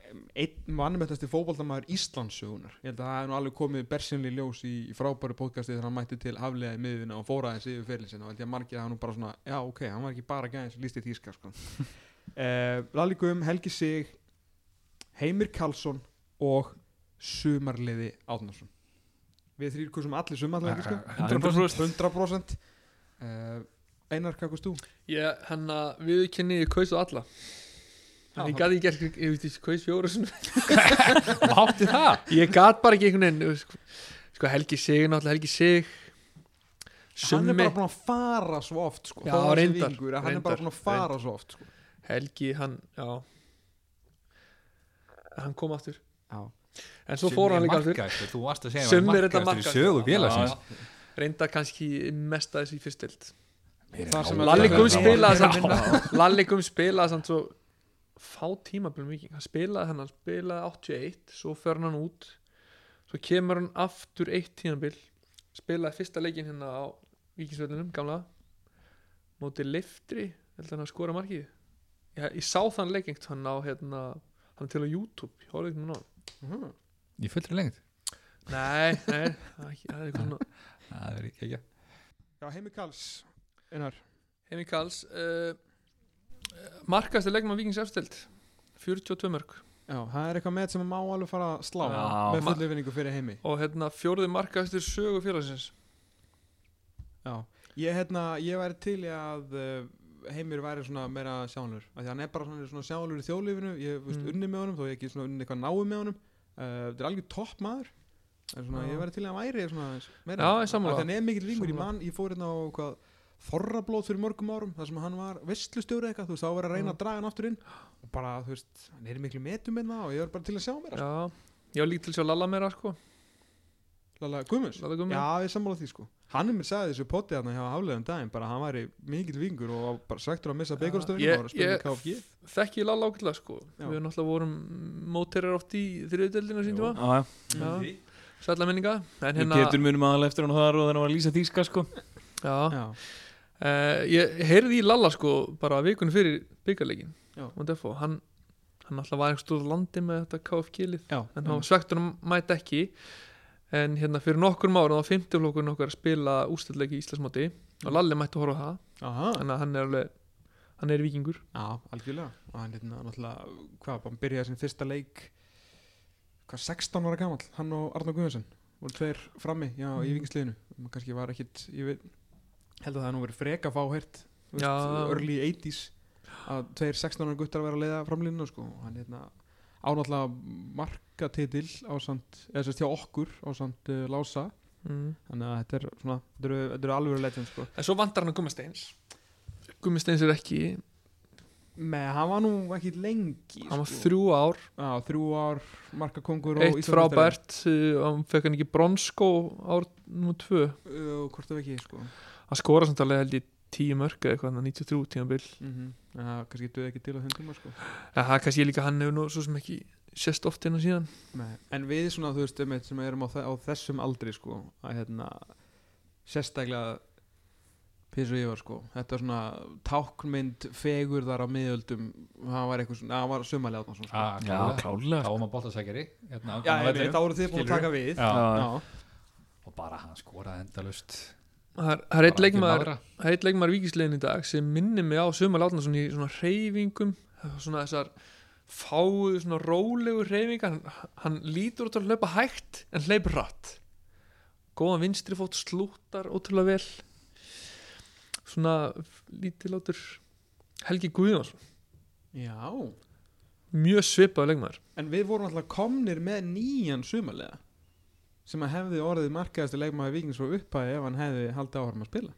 S2: em, einn vannmættasti fótboltamaður Íslandsugunar ég held að það er nú alveg komið bersinli ljós í, í frábæru podcasti þegar hann mætti til haflega í miðuna og fóra þessi yfir fyrir sinna og held ég að margir að hann nú bara svona já ok, hann var ekki bara gæðin sem lísti tíska sko. uh, Lalli Guðum, Helgi Sig Heimir Karlsson og Sumarliði Átnarsson við þrýr kursum allir sumarlega sko.
S3: 100%.
S2: 100% uh, Einar, hvað kostú?
S4: Ég, hann að viðkynni ég kaus á alla Ég gat ekki gert, ég veist, ég kaus fjóra sinni.
S3: mátti það
S4: Ég gat bara ekki einhvern veginn Sko, sko Helgi Sig, er náttúrulega Helgi Sig
S2: hann er
S4: Summi,
S2: bara búin að fara svo oft sko.
S4: Já,
S2: Þó að hann sé
S4: reyndar,
S2: víkingur, að hann er bara
S4: reyndar,
S2: búin að fara svo oft sko.
S4: Helgi, hann, já Hann kom aftur
S2: já.
S4: En svo fór hann líka aftur
S3: markaðist þú varst að segja
S4: Sumir
S3: hann
S4: er þetta
S3: markaðist í
S4: markahæstur.
S3: sögu félagsins
S4: Reynda kannski mest að þessu í fyrstild
S2: Það sem að-
S4: Lalli Guðum
S2: Já.
S4: spilaði samt Lalli Guðum spilaði samt svo fá tímabilum viking hann spilaði hann, hann spilaði 81 svo fer hann út svo kemur hann aftur eitt tímabil spilaði fyrsta leikin hérna á vikingsvöldunum, gamla móti liftri, held að hann að skora markið ég, ég sá þann leiking hann á hérna, hann er til á YouTube ég horfði ekki með hann
S2: Mhm.
S3: í fullri lengt
S4: nei, nei, það er ekki- það er eitthvað svona
S3: það er ekki ekki
S2: já, Heimi Karls Einar,
S4: Heimi Karls uh, markaðstu leikmann Víkings efstild 42 mörg
S2: já, það er eitthvað með sem að má alveg fara að slá
S4: Já,
S2: með
S4: ma-
S2: fullufinningu fyrir Heimi
S4: og hérna fjórði markaðstur sögu félagsins
S2: já. ég, hérna, ég væri til í að uh, Heimir væri svona meira sjálfur þannig að hann er bara svona, svona sjálfur í þjóðlífinu ég veist
S4: Mm.
S2: unni með honum, þó ég ekki svona unni eitthvað náu með honum uh, þetta er algjör topp maður En svona,
S4: Já.
S2: ég væri til í að hann væri svona, aðeins meira.
S4: Já, ég sammála.
S2: Af því hann er mikill vingur, ég
S4: Sammála.
S2: man, ég fór hérna á hvað Þorrablót fyrir mörgum árum þar sem hann var vestlustjóri eitthvað, þú veist, þá var að reyna að draga hann aftur inn og bara, þú veist, hann er í miklu metum með það og ég er bara til að sjá mér
S4: já, ég var líka til að sjá Lalla meira sko
S2: Lala Guðmunds?
S4: Lalla Gummi.
S2: Já, ég er sammála því sko Hann er mér sagði þessu potti hérna hjá aflegum daginn bara að hann væri mikill vingur og var bara svektur að missa byggurstöfinu
S4: Ég-
S2: og var að um spila
S4: ég-
S2: með KFG
S4: þekki ég Lalla ákveðlega sko
S2: Já.
S4: við náttúrulega vorum móterar oft í þriðudeldinu sín tíma
S5: Já, já.
S2: Mm-hmm.
S4: Já. sætla minninga en
S5: Við
S4: hérna
S5: getur munum aðal eftir hann þar og þannig var að lýsa þýska sko
S4: já,
S2: Já,
S4: uh, ég heyrði í Lalla sko bara vikunum fyrir byggarleikin
S2: Já.
S4: og Defo, hann hann alltaf var eitthvað stóð landi með þetta KFG-lið
S2: já,
S4: en hann var svektur að mæta ekki en hérna fyrir nokkur ára þá fimmtiflokkurinn okkar að spila ústæðleiki í Íslandsmóti og Lalli mætti horfa á það
S2: Aha,
S4: þannig að hann er alveg hann er vikingur
S2: já, algjörlega og hann hérna náttúrulega, hvað, hann byrjaði sinn fyrsta leik hvað, 16 ára gamall, hann og Arnur Guðjónsson voru tveir frammi, já, í vingisliðinu og kannski var ekkit, ég veit held að það hafi nú verið freka fáhært
S4: Já.
S2: early 80s að tveir 16 ára guttar að vera að leiða framlínuna sko, og hann hérna ánáttúrulega markatitil á samt, eða sérst hjá okkur á samt uh, Lása
S4: mm.
S2: þannig að þetta er svona, þetta eru, þetta eru alveg legend sko.
S4: en svo vandar hann að Gummisteins Gummisteins er ekki
S2: með hann var nú ekki lengi
S4: hann var
S2: sko.
S4: þrjú ár,
S2: Já, þrjú ár markakongur og
S4: eitt
S2: Íslandsmeistari.
S4: frábært uh, hann fekk hann ekki bronskó ár nú tvö
S2: Uh, og hvort það ekki sko.
S4: hann skora samtalið held ég tíu mörg eða eitthvað, þarna 93 tíma bil
S2: mm það kannski duði ekki til á þeim tíma sko.
S4: en það er kannski líka hann hefur nú svo sem ekki sérst oft inn á síðan
S2: Nei, en við svona þú veist einmitt, sem erum á, þe- á þessum aldri sko, að hérna sérstaklega fyrir svo ég var sko þetta er svona táknmynd fegurðar á miðöldum það var eitthvað svona, það var sumarlega átna svona sko.
S3: Ah, klálega.
S5: klálega
S3: þá var maður bóltasækjari
S2: já,
S3: hérna, á
S2: ég veit,
S3: vellinum.
S2: þá voru þið búin að
S3: Skilurðu?
S2: taka við
S3: Já.
S2: já.
S3: og bara hann skoraði endalust
S4: Það er- það er einn leikmaður
S3: já,
S4: Það er eitt leikmar víkislegin í dag sem minnir mig á Sumar Látnarsson í svona reyfingum svona þessar fáu svona rólegu reyfingar hann, hann lítur út að hlaupa hægt en hleyp rætt góðan vinstri fót slúttar ótrúlega vel svona lítilátur Helgi Guðjónsson
S2: já,
S4: mjög svipaður leikmar
S2: en við vorum alltaf komnir með nýjan sumarlega sem að hefði orðið markaðasti leikmaði vikings frá upphæði ef hann hefði haldið áhrum að spila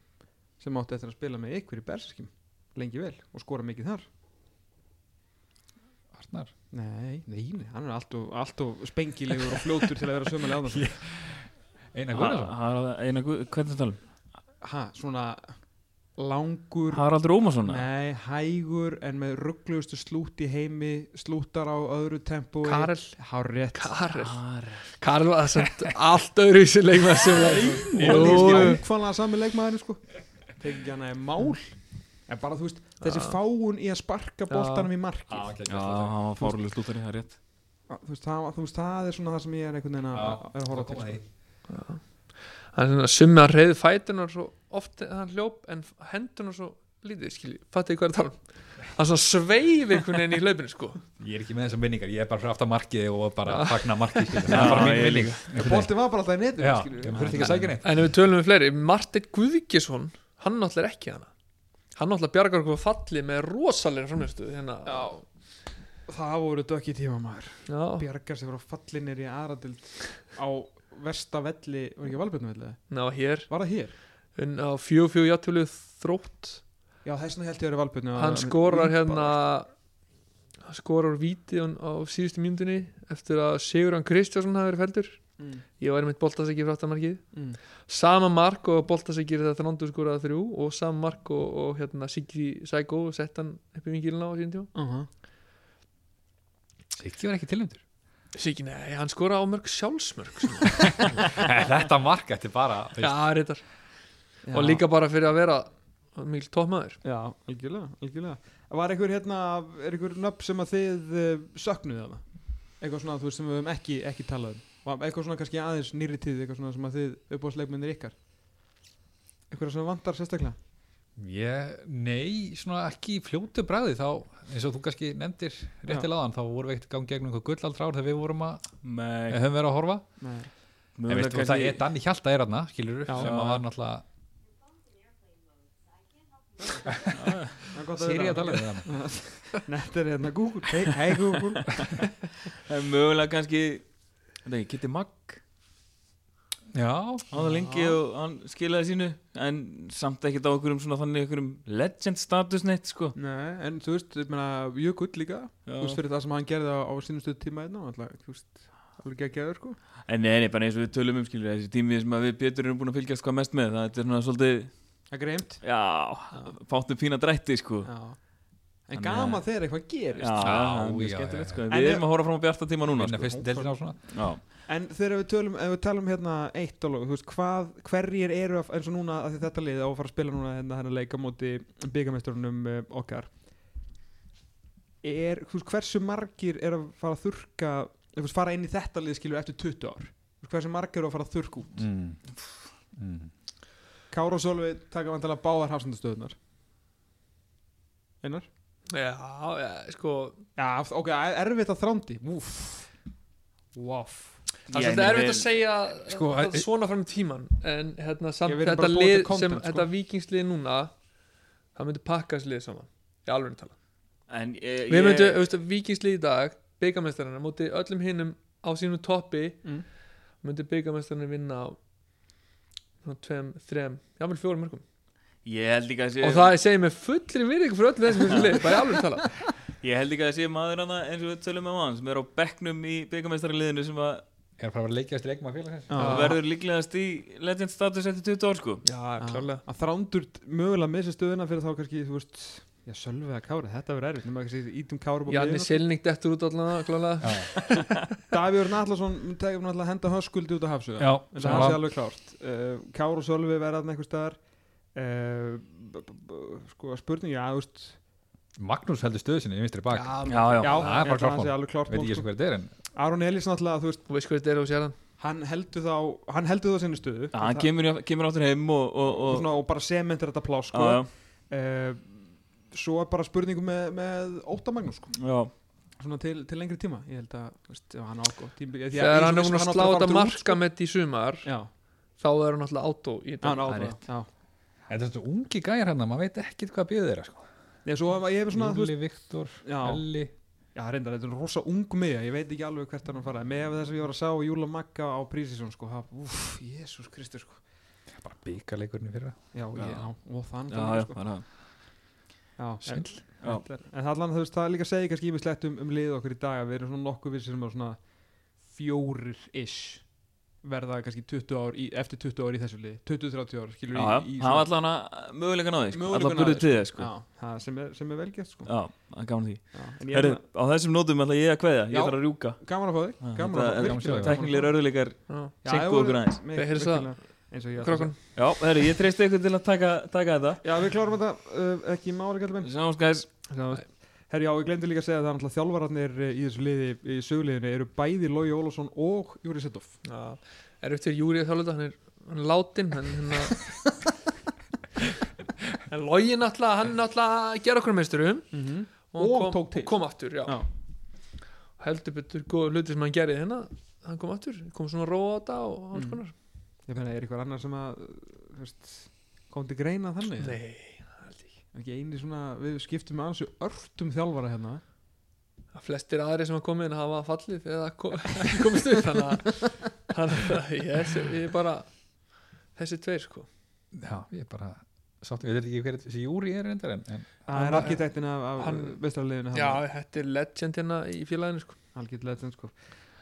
S2: sem átti eftir að spila með ykkur í Berserkjum lengi vel og skora mikið þar
S3: Arnar
S2: nei, nei, nei hann er allt og, allt og spengilegur og fljótur til að vera sumarlega átna
S5: Ah.
S3: Einar Guðnarsson
S5: Einar Guð, hvernig talum?
S2: ha, svona langur
S5: Haraldur Ómarsson um? eða?
S2: Nei, hægur en með rugglugustu slút í heimi slútar á öðru tempói
S4: Karel
S2: Hárrétt
S4: Karel,
S5: Harald.
S4: Karel var samt allt öðru í sér leikmar sem Jú,
S2: Ákvæmlega sami leikmaðurinn sko Tekið hana í mál En bara þú veist, þessi fáun í að sparka boltanum í markið
S3: Já,
S5: Já, hann var fárlega slúttari, það er rétt
S2: þú, veist, það, þú veist, það er svona það sem ég er einhvern veginn að
S3: Já.
S2: er að horfa til
S3: koma
S2: sko.
S3: því.
S4: hann er svona summi að reyði fætunar svo oft hann hljóp en hendunar svo lítið skilji, fattu ég hvað er að tala um hann svona sveif einhvern veginn í hlaupinu sko
S3: Ég er ekki með þessum vinningar, ég er bara fyrir aftan markið og bara fagna markið skilur. Það er bara mín
S5: ég
S3: vinning
S2: Bolti var bara alltaf í netinu
S3: Já,
S2: skilurðu.
S3: ég þurfti ekki að sækja neitt
S4: en ef við tölum við fleiri, Martin Guðkjesson hann náttúrulega er ekki hana hann náttúrulega bjargar okkur falli með rosalega framhjöfstu hérna já,
S2: Það voru dökki tíma maður
S4: já,
S2: Bjargar sem voru fallinir í aðradild á versta velli, var ekki valbjörnum velli
S4: ná hér
S2: Var það hér?
S4: en á fjó fjó játtölu þrótt
S2: Já, þessna held ég að vera valbjörnum
S4: hann skorar hérna hann skorar vítið á síðustu mínútinni eftir að Sigurðan Kristjánsson hafi verið feldur
S2: mm.
S4: ég væri mitt boltasæki frá aftamarkið
S2: Mm.
S4: sama mark og Boltaseggi er þetta Nandur skoraði þrjú og sama mark og, og hérna Siggi Sækó sett hann upp í vingilina á síðan tíma
S2: Uh -huh.
S3: Siggi var ekki tilnæmdur
S4: Siggi, nei, hann skoraði á mörg sjálfsmörg
S3: Þetta mark ætti bara þú
S4: Já,
S3: veist,
S4: reyndar og líka bara fyrir að vera mjög tómaður
S2: Já, algjörlega, algjörlega Var einhver hérna, er einhver nöfn sem að þið uh, söknuði þarna? Eitthvað svona, þú veist, sem við höfum ekki, ekki talað um Var Eitthvað svona kannski aðeins nýri tíð Eitthvað svona sem að þið uppáðsleikmennir ykkar Eitthvað sem vantar sérstaklega
S3: Ég, nei, svona ekki í fljótu bræði þá, eins og þú kannski nefndir réttilega aðan, þá vorum við ekkert gangi gegnum einhver gullaldrár þegar við vorum að,
S5: Nei,
S3: höfum verið að horfa
S2: Nei.
S3: En veistu hvað það er, Danni Hjalta er aðna, skilur
S2: Já.
S3: sem að var náttúrulega
S2: Það er gott að
S3: séri
S2: vita
S3: að tala við hann
S2: Þetta er hérna Google Hei hey Google
S5: er mögulega kannski Þetta ekki, Kitty Magg
S3: Já,
S5: Hann var lengi og hann skilaði sínu En samt ekkert á okkur um svona þannig okkur um legend status neitt sko
S2: Nei, en þú veist, ég meina Jökull líka, þú veist
S5: Já.
S2: fyrir það sem hann gerði á, á sínustu tíma hérna alltaf, Þú veist, alveg ekki að geða sko
S5: En nei, nei, bara eins og við tölum um skilur Þessi tími sem að við Pétur erum búin að fylgjast hvað mest með Það þetta er svona svolítið,
S2: Það er greimt
S5: já, fátum fína drætti sko
S2: Já En
S5: Þannig
S2: gaman þegar eitthvað gerist
S5: Já, það er mjög
S3: já,
S5: skemmtilegt
S3: já.
S5: sko En
S2: En
S5: Við
S2: ég-
S5: erum að horfa fram á bjarta tíma núna
S3: vinna
S5: sko
S3: fyrst deildin á svona
S5: Já.
S2: En þegar við tölum, ef við talum hérna eitt alveg, þú veist, hvað, hverjir eru að, eins og núna, að þetta lið á að fara að spila núna hérna hérna leika móti byggamesturunum okkar er, þú veist, hversu margir er að fara að þurka, þú veist, fara inn í þetta lið skilur eftir 20 ár, þú veist, hversu margir eru að fara að þurka út,
S3: mm. Mm.
S2: Kára og Solvi taka vantilega báðar hafsendastöðunar Einar?
S4: Já, já, sko
S2: Já, ok, erfitt að þrándi Úf,
S3: Mm.
S2: úf
S4: það
S5: Ég
S4: er svolítið
S5: meina,
S4: erfitt
S5: við-
S4: að segja
S3: Sko,
S4: það
S3: e-
S4: svona fram í tíman en hérna samt
S2: Ég vil bara
S4: þetta
S2: búa til
S4: lið
S2: content,
S4: sem
S2: sko.
S4: þetta vikingslið núna það myndi pakkast lið saman í alveg tala
S5: eh, En ég,
S4: Við myndum,
S5: ég,
S4: þú veist, vikingslið í dag byggamestarinn, móti öllum hinnum á sínum toppi
S2: Mm.
S4: myndi byggamestarinn vinna á svona tveim, þreim, jáfnvel fjórum mörgum
S5: ég held líka að sé
S4: og það segir mér fullri virðing fyrir öllu þessum þessu lið, bara í alveg tala
S5: Ég held ekki að það sé maður hana eins og við tölum með maður sem er á bekknum í byggamestarliðinu sem að
S3: Er bara að vera leikjast leikma félagsins
S2: Já.
S5: verður líklegast í legend status eftir 20 ár sko
S4: Já,
S2: Já, að þrándur mögulega missi stöðuna fyrir þá kannski, þú veist já, sölvið að kára, þetta verður erfitt nema kannski ítum kára upp á
S4: Janni
S2: miðjuna.
S4: Silning dettur út allan klálega
S3: Já,
S2: Davíður Nallarsson tegur náttúrulega að henda höskuldi út á hafsöðu
S3: já
S2: en
S3: sem
S2: það sé Eh,
S3: var-
S2: alveg klárt uh, Kára og Sölvi verða þarna einhver staðar uh, b- b- b- sko spurning, já, þú veist
S3: Magnús heldur stöðu sinni í vinstri bak
S5: já, já,
S2: já,
S5: já.
S2: ég
S3: það er bara
S2: held að
S3: klárt
S2: hann sé
S3: mál.
S2: alveg klart
S3: veit
S2: mál,
S3: ekki eins
S2: sko.
S3: og hver þetta er en
S2: Aron Elís náttúrulega, þú veist,
S4: Þú veist hvað þetta er og sér hann
S2: hann heldur þá hann heldur þá sinni stöðu
S5: hann
S2: Það-
S5: kemur, í- kemur áttur heim og, og,
S2: og,
S5: og,
S2: svona, og bara sementir þetta plás sko.
S5: já, já,
S2: uh, svo er bara spurningum með, með Óta Magnús sko.
S5: já,
S2: svona til, til lengri tíma ég held að þú veist, ef hann ágótt tíma ég- ég-
S4: Þegar hann er
S2: ég-
S4: búin að
S2: hann
S4: slá
S2: átti
S4: þetta
S2: fara til
S4: marka með í sumar
S2: út, sko. já,
S4: þá er hann alltaf átó í
S2: hann á
S4: þetta
S5: Það er
S2: það
S5: rétt.
S2: já.
S3: þetta er svona ungi gæjar hann maður veit ekkit hvað bjöðu þeirra sko.
S2: Nei, svo var- ég hef svona þú veist,
S3: Júli, Viktor,
S2: já,
S3: Elli
S2: já, reyndar, þetta er rosa ung miðja ég veit ekki alveg hvert hann faraði með þess að ég var að sjá Júla Magga á prísísson sko, það- úff, jésús kristur sko.
S3: bara byggarleikurinn fyrir
S5: Já.
S2: já, já, og þann sko.
S5: já, já, bara það.
S2: já, en,
S3: svill
S5: Já.
S2: en það er allan þú veist, það er líka að segja kannski ímislegt um, um lið okkur í dag að við erum svona nokkuð vissir um að svona fjórir ish verða kannski 20 ár í, eftir 20 ár í þessu lið 20-30 ár skilur
S5: Já, já,
S2: í, í
S5: hann var allan að möguleika náði, sko.
S2: Möguleikan
S5: allan
S2: á því,
S5: burðu
S2: sko.
S5: til þess sko.
S2: já, það sem er, sem er velgert sko.
S5: Já, það er gaman að því
S2: Já, en ég
S5: Herru,
S2: Heri,
S5: á þessum nótum ætla ég að kveðja,
S2: Já.
S5: ég þarf að rjúka
S2: gaman að fá þig gaman að fá
S5: Þetta-
S2: þig
S3: gaman að sjá
S2: virkilega gaman
S3: þig.
S2: að
S5: Teknilegir
S2: fá þig.
S5: örðuleikar
S4: Já,
S2: Já,
S5: seinkuðu
S2: voru-
S5: okkur aðeins
S2: mig-
S4: Við heyrðum það.
S2: virkilega, eins og ég ætla að
S4: Krakkan,
S5: Já, herru, ég treysti ykkur til að taka, taka þetta
S2: segja. já, við klárum þetta uh, ekki í máli kallum
S5: Sjáumskæðis
S2: herri, já, ég glemdi líka að segja að það er náttúrulega þjálfararnir eh, í þessu liði, í söguliðinu eru bæði Lói Ólafsson og Júri Setthoff
S4: já, er upp til Júri að þjálfa þetta, hann er, hann er látin hann, hann, hann logi náttúrulega, hann náttúrulega gera okkur meisturum
S2: mm -hmm.
S4: og, hann
S2: Og
S4: kom,
S2: tók til.
S4: og kom aftur, já,
S2: Já.
S4: heldur betur góða hluti sem hann gerði hérna, hann kom aftur kom svona róa á þetta og alls
S2: Mm.
S4: konar
S2: ég meina, er eitthvað annar sem að eh, þú veist, kom til greina þannig
S4: Nei,
S2: ekki eini svona, við skiptum með ansu örtum þjálfara hérna
S4: að flestir aðri sem hafa komið inn hafa fallið eða kom, komist upp þannig að- þannig að yes, ég er bara þessi tveir sko
S3: já, ég er bara sátt, við veit ekki hver þessi Júri er reyndar en, en
S2: það er arkitektin af, af
S4: hann-
S2: vestarliðinu
S4: já, þetta er legend hérna í félaginu sko
S2: algjörlega sko.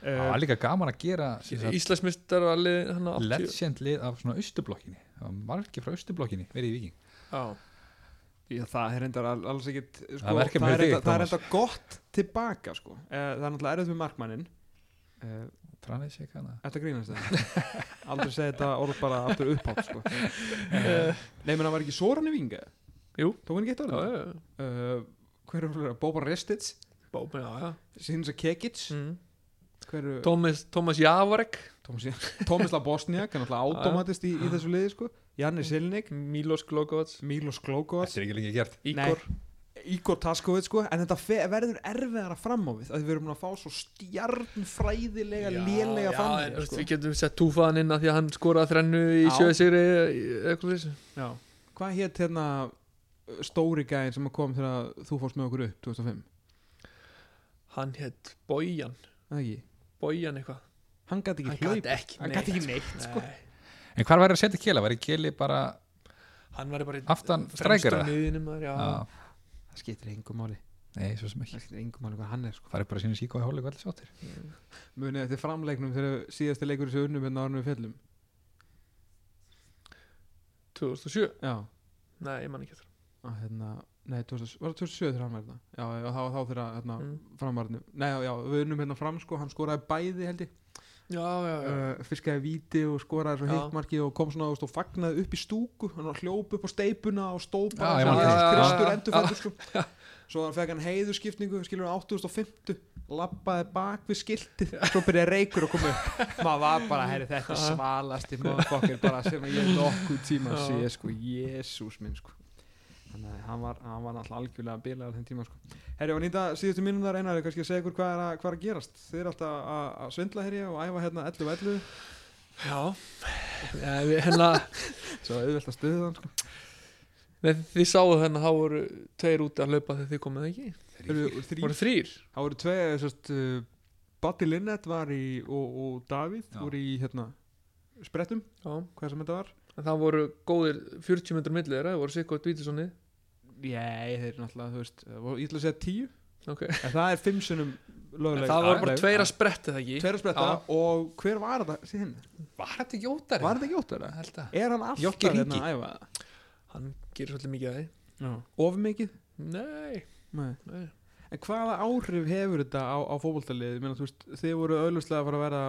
S3: það
S2: uh,
S3: var líka gaman að gera sem sagt,
S4: Íslandsmistar var liðið hann á 80
S3: legend lið af svona austublokkinni það var margir frá austublokkinni verið í viking
S4: Já,
S2: Já, það er reyndar all- alls ekkit sko,
S3: Það er verkefni
S2: það, er
S3: fyrir þig,
S2: reyndar, það er
S3: Tómas.
S2: reyndar gott tilbaka sko. Eh, Það er náttúrulega erfið með markmannin uh,
S3: trænið sig hana
S2: Þetta grínast það Aldrei segja þetta orð bara aftur upphátt sko. uh, Nei, menn það var ekki Soran í vinga
S4: Eh. Jú.
S2: Tók hann ekki eitt
S4: já,
S2: orð?
S4: já, já.
S2: Uh, hver er fyrir Boba Restic
S4: Bóma, já, já.
S2: Sinsa Kekic
S4: Mm.
S2: Hver eru
S4: Thomas, Thomas Javorek
S2: Tómas, Tómasla Bosniak Hann er náttúrulega automatist í, í þessu liði sko. Janni Silnik
S4: Milos Glogovac
S2: Milos Glogovac
S3: þetta er ekki lengi gert
S4: Igor
S2: Ígor Taskovið sko en þetta fe- verður erfiðara fram á við að við erum að fá svo stjarnfræðilega lélega
S4: já,
S2: fram
S4: en,
S2: við
S4: veist,
S2: sko.
S4: Við getum sett túfaðan inn að því að hann skoraði þrennu í
S2: Já.
S4: sjöðsigri eitthvað þessu
S2: Já. hvað hétt hérna uh, stóri gæðin sem kom þegar þú fórst með okkur upp 2005
S4: Hann hétt Bojan
S2: Það ekki?
S4: Bojan eitthvað
S2: hann gæti
S4: Hann
S2: ekki
S4: gat
S2: hlaup
S4: ekki
S2: hann gæti ekki
S4: Nei.
S2: neitt sko.
S3: en hvar væri að setja kela, væri keli bara
S4: Hann var bara í
S3: Aftan
S4: fremstu
S3: strækara?
S4: miðjunni, maður, já.
S3: að,
S2: það skiptir engum máli
S3: nei, svo sem ekki
S2: það skiptir engum máli hvað hann er sko.
S3: farið bara að sína síkói hóli og allir sáttir
S2: munið eftir framleiknum þegar síðasti leikur þessu unnum hérna árnum við fellum
S4: 2007
S2: já
S4: Nei, ég man ekki eftir
S2: að, hérna Nei, 2000, var það 2007 þegar hann var þetta? Já, já, þá, þá þegar hérna, mm.
S4: Mm.
S2: framarðinu. Nei, já, já, við unnum hérna fram, sko, hann skoraði bæði, held ég.
S4: Já, já, já
S2: uh, fiskaði víti og skoraði svo
S4: Já.
S2: hitt markið og kom svona þú veist, og fagnaði upp í stúku hann var hljóp upp á steipuna og stóð bara
S3: Já,
S2: sem
S3: ég man
S2: Jesús
S4: eftir.
S2: Kristur
S4: Já, já,
S2: endurfættur sko. svo þannig fekk hann heiðurskipningu skilur hann 8050 lappaði bak við skiltið svo byrjaði reykur að koma upp maður var bara, herri þetta er svalasti motherfucker bara sem ég hef nokkuð tíma að sé sko, jésús minn sko Þannig að hann var, hann var náttúrulega algjörlega bilaðar þenn tíma sko. Herri, og nýta síðustu mínúndar einari, kannski að segja ykkur hvað er að, hvað er að gerast. Þið er alltaf að, að svindla herri og æfa hérna 11-11.
S4: Já Eh, við- Hérna
S2: Svo auðvelt að stuða hann sko.
S4: Nei, þið sáu þennan þá voru tveir úti að hlaupa þegar þið komið ekki
S2: Eru
S4: voru
S2: þrýr,
S4: þrýr
S2: þá eru tvei sérst, uh, Batti Linnet var í og, og Davíð
S3: Já.
S2: voru í hérna sprettum,
S4: Já. en
S2: hvað sem þetta var
S4: það voru góðir 40 minnur millir þeirra, það voru Sikko Dvítilssoni
S2: Nei, þeir eru náttúrulega, þú veist uh, voru- ég ætla að segja tíu,
S4: ok
S2: en það er fimm sinnum
S4: en
S2: lögulega
S4: það voru bara
S2: Nei,
S4: tveir að spretta það ekki
S2: tveir að spretta og hver var þetta síðan?
S3: var þetta ekki ótari?
S2: Var þetta Jótt þetta?
S3: held að
S2: Er hann alltaf
S3: Jóki Ríki?
S2: hérna að æfa?
S4: hann gerir svolítið mikið að
S2: Já. Of mikið?
S4: því nei,
S2: Nei
S4: nei.
S2: En hvaða áhrif hefur þetta á, á fótboltaliðið? Ég meina, þú veist, Þið voru auðvitað að fara að vera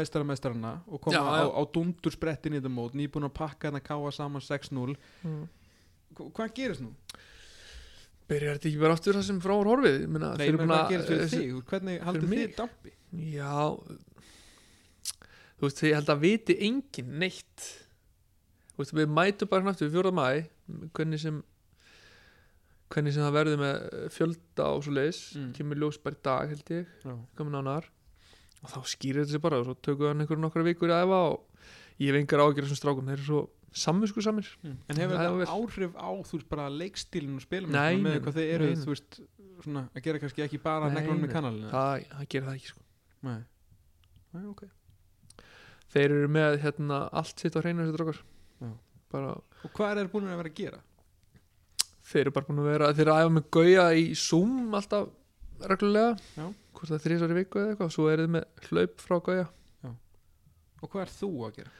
S2: meistara meistarana og koma
S4: Já,
S2: á,
S4: já.
S2: á dundur sprettin í þetta mót nýbúin að pakka hann að káa saman 6-0
S4: Mm.
S2: Hva- hvað gerist nú?
S4: Byrjar þetta ekki bara aftur það sem frá er horfið? Ég Meina,
S2: Nei,
S4: þeir eru
S2: menn,
S4: búin
S2: hvað
S4: að- eh,
S2: gerist við
S4: þessi-
S2: þig? Hvernig haldið
S4: mig?
S2: þið dampi?
S4: Já Þú veist, ég held að viti engin neitt Þú veist, við mætum bara knáttu við fjóra mæ hvernig sem hvernig sem það verður með fjölda og svo leis,
S2: Mm.
S4: kemur ljós bara í dag held ég,
S2: Já.
S4: komin nánar og þá skýrir þetta sér bara og svo tökum við hann einhverjum nokkra vikur að efa og ég hef engar ágjörð þessum strákum, þeir eru svo samvisku samir
S2: En hefur
S4: Hmm. Það
S2: þetta
S4: hefur-
S2: áhrif á þú veist bara leikstílinn og spilum
S4: Nei,
S2: með
S4: nei,
S2: hvað þið eru
S4: nei, nei.
S2: þú veist svona að gera kannski ekki bara
S4: Nei,
S2: neglunum í
S4: nei.
S2: kanalina
S4: það, það gerir það ekki sko.
S2: Nei, Nei, ok
S4: þeir eru með hérna allt sitt á hreinu þessi drókar
S2: Já.
S4: bara
S2: Og hvað er þeir búin að vera að gera?
S4: þeir eru bara búin að vera þeir eru að æfa með gauja í Zoom alltaf reglulega
S2: Já.
S4: hvort það þrísar í viku eða eitthvað svo eru þið með hlaup frá gauja
S2: Og hvað er þú að gera?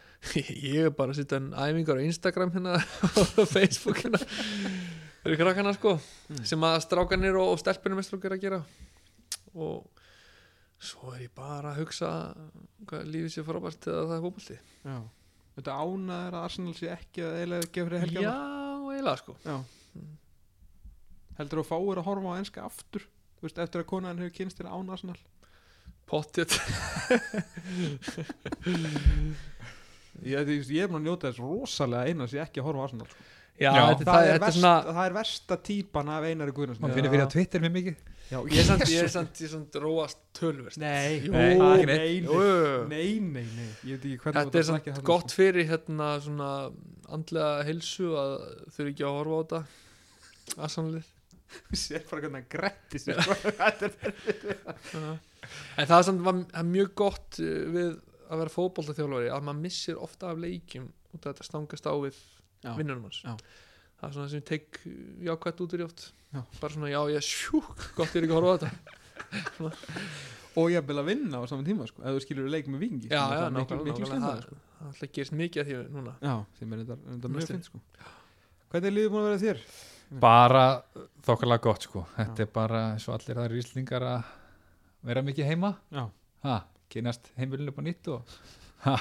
S4: ég er bara að sitja en æfingar á Instagram hérna og Facebook hérna þeir eru krakkana sko
S2: Mm.
S4: sem að strákanir og, og stelpunir mest strókar að gera og svo er ég bara að hugsa hvað lífið sé frábært þegar það er fótbolti
S2: Já. Þetta ánaður að Arsenal sé ekki að eiginlega gefa fyrir
S4: já,
S2: helgjana
S4: eiginlega sko
S2: Heldur þú að fáir að horfa á enska aftur? Þú veist, eftir að konan hefur kynst þér án Arsenal
S4: pottjött
S2: Ég, ég, ég er búin að njóta þess rosalega einar sem ég ekki að horfa á Arsenal sko.
S4: já,
S3: Já.
S4: þetta, það, þetta er svona
S2: það er versta típan af einari
S3: Man
S2: Guðnarsson
S3: finnir fyrir að Twitter mér mikið
S4: ég er samt, ég er samt, ég er samt róast tölverst
S2: Nei,
S4: Jú,
S2: nei,
S3: það er ekki
S2: nei,
S4: Jú,
S2: nei,
S4: jú.
S2: nei, nei, nei. Ég veit ekki hvernig
S4: þetta er samt
S2: sko.
S4: gott fyrir hérna svona andlega helsu að þau eru ekki að horfa á þetta aðsamlið
S2: Sér bara hvernig hann gretti sér Þetta er
S4: en það er samt var, það er mjög gott uh, við að vera fótboltaþjálfari að maður missir ofta af leikjum út af þetta stangast á við
S2: Já.
S4: vinnunum hans
S2: Já.
S4: það er svona sem ég tek uh, jákvætt út úr í oft
S2: Já.
S4: bara svona já ég sjúk gott ég er ekki að horfa á þetta
S2: og ég vil að vinna á saman tíma sko, ef þú skilur leik með vingi
S4: Já,
S2: sem er
S4: já,
S2: það miklu,
S4: nákvæmlega,
S2: miklu
S4: nákvæmlega,
S2: skemmtilega sko.
S4: það alltaf gerist mikið að því núna
S2: já, sem er þetta, þetta
S4: Mjög
S2: mjög fint sko. hvernig er liðið búin að vera þér?
S3: bara þokkarlega gott sko þetta er bara eins og allir aðrir íslendingar að vera mikið heima
S2: Já.
S3: ha, kynast heimilinu upp á nýtt og ha,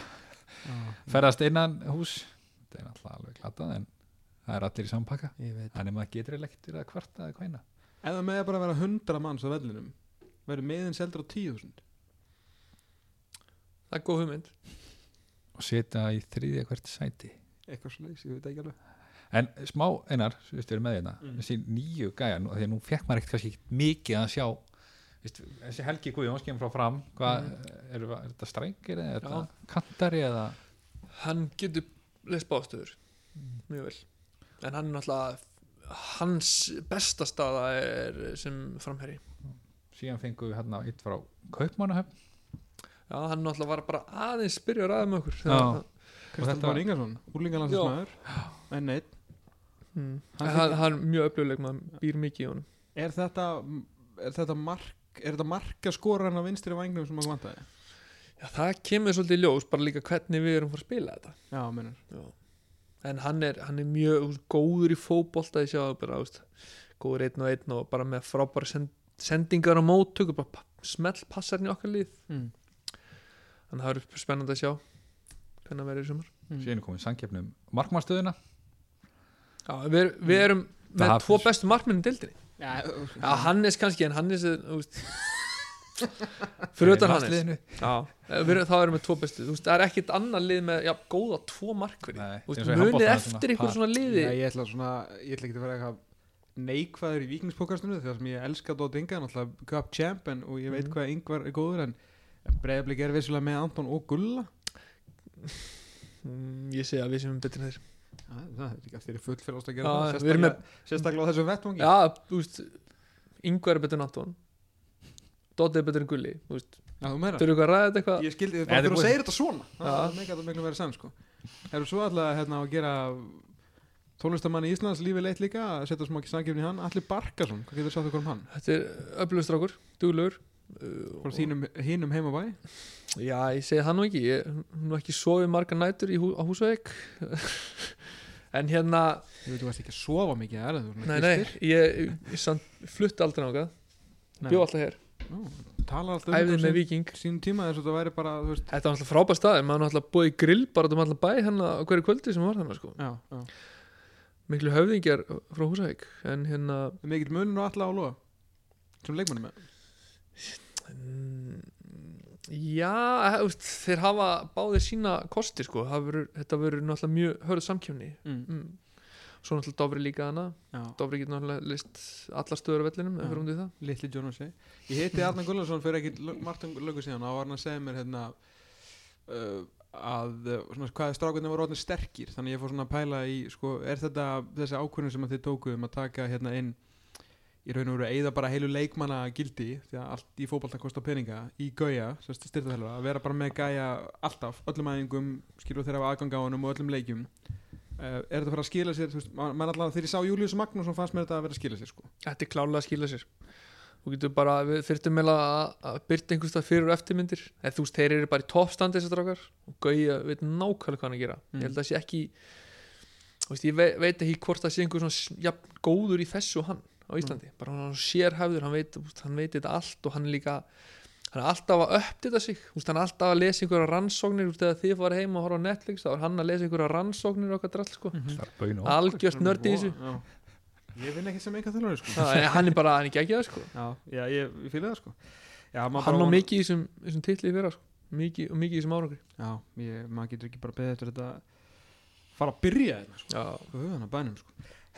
S3: ferðast innan hús þetta er náttúrulega alveg glatað en það er allir í sampakka
S2: ég veit
S3: þannig maður getur eiginlega ekkert verið að kvarta eða kvæna
S2: ef það meði bara að vera 100 manns á vellinum verður meðin seldur á 10.000
S4: það er góð hugmynd
S3: og setja í þriðja hvert sæti
S2: eitthvað svo leys, ég veit ekki alveg
S3: en smá einar, þú veist, við erum með hérna
S4: Mm.
S3: þessi nýju gæja, nú- af því að nú fekk maður ekkert kannski ekkert mikið að sjá veist, þessi Helgi Guðjóns kemur frá fram hvað, er, er þetta strækir eða er
S4: Mm. Já.
S3: þetta kantari eða
S4: hann getur leist báðstöður mjög vel en hann er náttúrulega hans besta staða er sem framherri
S3: síðan fengum við hérna eitt frá Kaupmannahöfn
S4: já, hann náttúrulega var bara aðeins byrja að ræða með okkur
S3: Já.
S2: Kristján
S3: þetta-
S2: Bán Ingarsson, úrlingarlandsmaður en neitt
S4: mm.
S2: Hann
S4: hann, hann, hann er mjög öfluguleg maður býr mikið í honum
S2: er þetta, er þetta mark er þetta marka skoran á vinstri vangnum sem maður vantaði?
S4: já, það kemur svolítið í ljós bara líka hvernig við erum fór að spila þetta
S2: já, minnur
S4: já. en hann er, hann er mjög þú veist, góður í fótbolta ég sjá það bara, þú veist, góður einn og einn og bara með frábæra send, sendingar og móttöku bara pa- smell passar hann í okkar lið
S2: mm.
S4: þannig að það eru spennandi að sjá hvernig það verður í sumar
S2: Hmm.
S3: síðan komum við samkeppnum markmannstöðuna
S4: Já, við, við erum með
S3: Það-
S4: tvo bestu markmennin dildinni
S2: já,
S4: Mm. Já, Hannes kannski, en Hannes er, þú veist Fyrir utan Hannes
S3: landsliðinu.
S4: Já, Eh, við, erum- þá erum við tvo bestu Þú veist, það er ekkit annað lið með, já, góða tvo markverði
S3: Nei,
S4: Þú
S3: eins
S4: veist,
S3: og í
S4: munið
S3: handboltanum
S4: eftir
S3: svona,
S4: ykkur
S3: par.
S4: svona liði
S2: Já, ég ætla svona, ég ætla ekki að vera eitthvað neikvæður í vikingspókastunni þegar sem ég elska Dótt Inga, náttúrulega Cup Champion og ég veit
S4: Mhm.
S2: hvað Ingvar er góður en Breiðablik er vissulega með Anton og Gulla
S4: Mm, Ég segi að við sem erum betri en þeir
S2: Já, það er ekki eftir í full félagast að
S4: Já,
S2: gera það
S4: við erum
S2: sérstaklega, sérstaklega á þessum vettvangi
S4: Já, þú veist, Ingo er betur en Anton Dóti er betur en Gulli Þú veist,
S2: Já, þú meira
S4: þau eru eitthvað að ræða þetta eitthvað
S2: Ég skildi
S3: Nei,
S2: bara þegar
S3: þetta er
S2: þú
S3: búið.
S2: segir þetta svona
S4: Já.
S2: Það er mikið að það miklu verið sem sko Erum svo alltaf hérna að gera tónlistamann í Íslands lífi leitt líka að setja smá ekki sangefni hann Allir Barkarsson, hvað getur sagt okkur um hann?
S4: Þetta er öflugustrákur, duglegur uh,
S2: Frá þínum, hínum heimabæ
S4: Já, ég segi það nú ekki ég, Nú ekki sofið margar nætur í hú, á Húsavík En hérna
S2: Ég veit, þú varst ekki að sofa mikið, er það?
S4: Nei, nei, ég, ég, ég samt, flutti aldrei nákað Bjó alltaf hér
S2: talar alltaf
S4: æfði með
S2: um sín,
S4: viking
S2: sín tíma eins og það væri bara, þú veist
S4: Þetta var alltaf frábæð staðir, maður náttúrulega búið í grill bara út um alltaf bæ hérna á hverju kvöldi sem var hérna sko.
S2: já, já.
S4: Miklu höfðingjar frá Húsavík en hérna
S2: Er mikill munur á alla á loða sem leikmanni með
S4: mm, já, þú veist, þeir hafa báðir sína kosti sko. Það verður- þetta verður náttúrulega mjög hörð samkjöfni
S2: mm.
S4: mm. Svo náttúrulega Dofri líka hana
S2: já,
S4: Dofri getur náttúrulega list allar stöður á vellinum
S2: Já.
S4: ef við erum út í það
S2: litli John O'Shea ég heiti Arnar Gullarsson fyrir ekki lö- margt um lögu síðan og var hann að segja mér hérna uh, að uh, svona, hvað strákunni voru orðin sterkir þannig ég fór svona að pæla í sko, er þetta þessi ákvörðin sem að þið tókuð um að taka hérna inn í raun og veru eða bara heilu leikmanna gildi því að allt í fótballta kostar peninga í gauja, sem styrtaþjálfa, að vera bara með gæja alltaf, öllum æfingum skilur þeirra af aðgang á honum og öllum leikjum uh, er þetta að fara að skila sér þú veist, man, man allavega, þegar ég sá Július Magnússon fannst mér þetta að vera að skila sér sko.
S4: Þetta er klálega að skila sér Þú getur bara, við þyrftum meila að byrta einhverstað fyrir og eftirmyndir eða þú veist, þeir eru bara í toppstandi þessar drákar og gauja, veit nákvæmlega hvað hann er að gera
S2: Mm.
S4: ég held að það sé ekki þú veist, ég veit, veit ekki hvort það sé einhver svona s- jafn góður í þessu og hann á Íslandi bara hann sér hefður, hann veit, þú veist, hann veit þetta allt og hann er líka hann er alltaf að uppdita sig, þú veist, hann er alltaf að lesa einhverja rannsóknir, þú veist, þegar þið farið heima og horfa á Netflix, þá er hann að lesa einhverja rannsóknir og okkar drall, sko,
S3: það er bauðin og
S4: algjört nördi í þessu
S2: Já. Ég vinn ekki sem einhver þjálfari sko.
S4: Það er- hann er bara, hann er geggjað, sko
S2: Já, já ég, ég fylgði það sko. Já, maður
S4: hann
S2: bara
S4: á
S2: vonar-
S4: mikið í þessum, þessum titli í fyrra sko. mikið, og mikið í þessum árangri
S2: Já, ég, maður getur ekki bara beðið eftir þetta fara að byrja þetta sko.
S4: já.
S2: Hvað höfðan að bænum sko.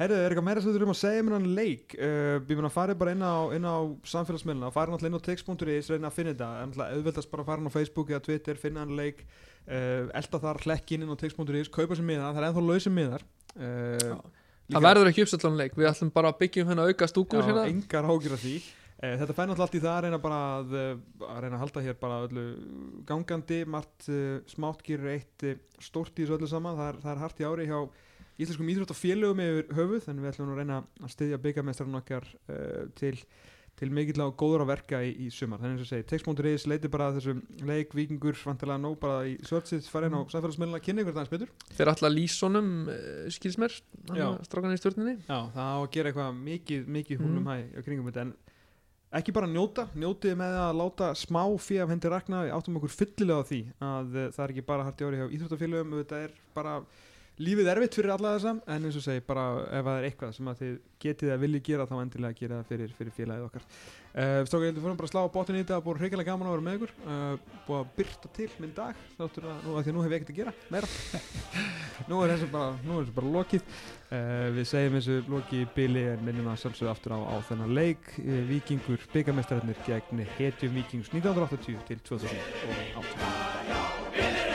S2: Herðu, er eitthvað meira sem þú erum að segja mér hann leik? Uh, ég mun að fara bara inn á, inn á samfélagsmiðluna, fara náttúrulega inn á text.is reyna að finna þetta, en náttúrulega auðveldast bara að fara hann á Facebook eða Twitter, finna hann leik uh, elda þar hlekkinn inn á text.is kaupa sér miða, það er ennþá lausir miðar uh,
S4: það verður ekki uppsett leik við ætlum bara að byggja um hérna auka stúkur
S2: Já,
S4: hérna.
S2: engar ágjur af því Eh, Þetta fær náttúrulega allt í það að reyna bara að, eh, að reyna að halda hér bara öllu gangandi, margt eh, smátt gerur eitt eh, stórt í þessu öllu saman það er, það er hart í ári hjá íslenskum íþróttafélögum yfir höfuð en við ætlum nú að reyna að styðja byggamestran okkar uh, til, til mikill á góður að verka í, í sumar þannig eins og segi, text.is leiti bara að þessum leik, vikingur, vantilega nóg bara í svörtsið fara inn á
S4: Mm.
S2: samfélagsmiðluna að kynna ykkur það betur
S4: þeir ætla að lýsa honum eh, skilsmer,
S2: Já.
S4: strákan í stjórninni
S2: Já, það á að gera eitthvað mikið, mikið húnum hæ á kringum þetta en ekki bara njóta, njótið með að láta smá fyrir af hendi rakna, við áttum okkur fyllilega á því að eh, það er ekki bara harti ári hjá íþróttafélögum, þetta er bara lífið erfitt fyrir alla þessa, en eins og segi bara ef það er eitthvað sem að þið getið að vilji gera þá endilega gera það fyrir, fyrir félagið okkar uh, Stráka, ég heldur fyrir bara að slá á botnin í þetta, búið hrikalega gaman að vera með ykkur uh, búið að byrta til minn dag þáttur að, nú, að því að nú hef ég ekkert að gera meira, nú er þessu bara, nú er þessu bara lokið Uh, við segjum þessu loki í bili en minnum að sjálfsögðu aftur á, á þennan leik uh, Víkingur, byggamestararnir gegn hetjum Víkings 1980 til 2018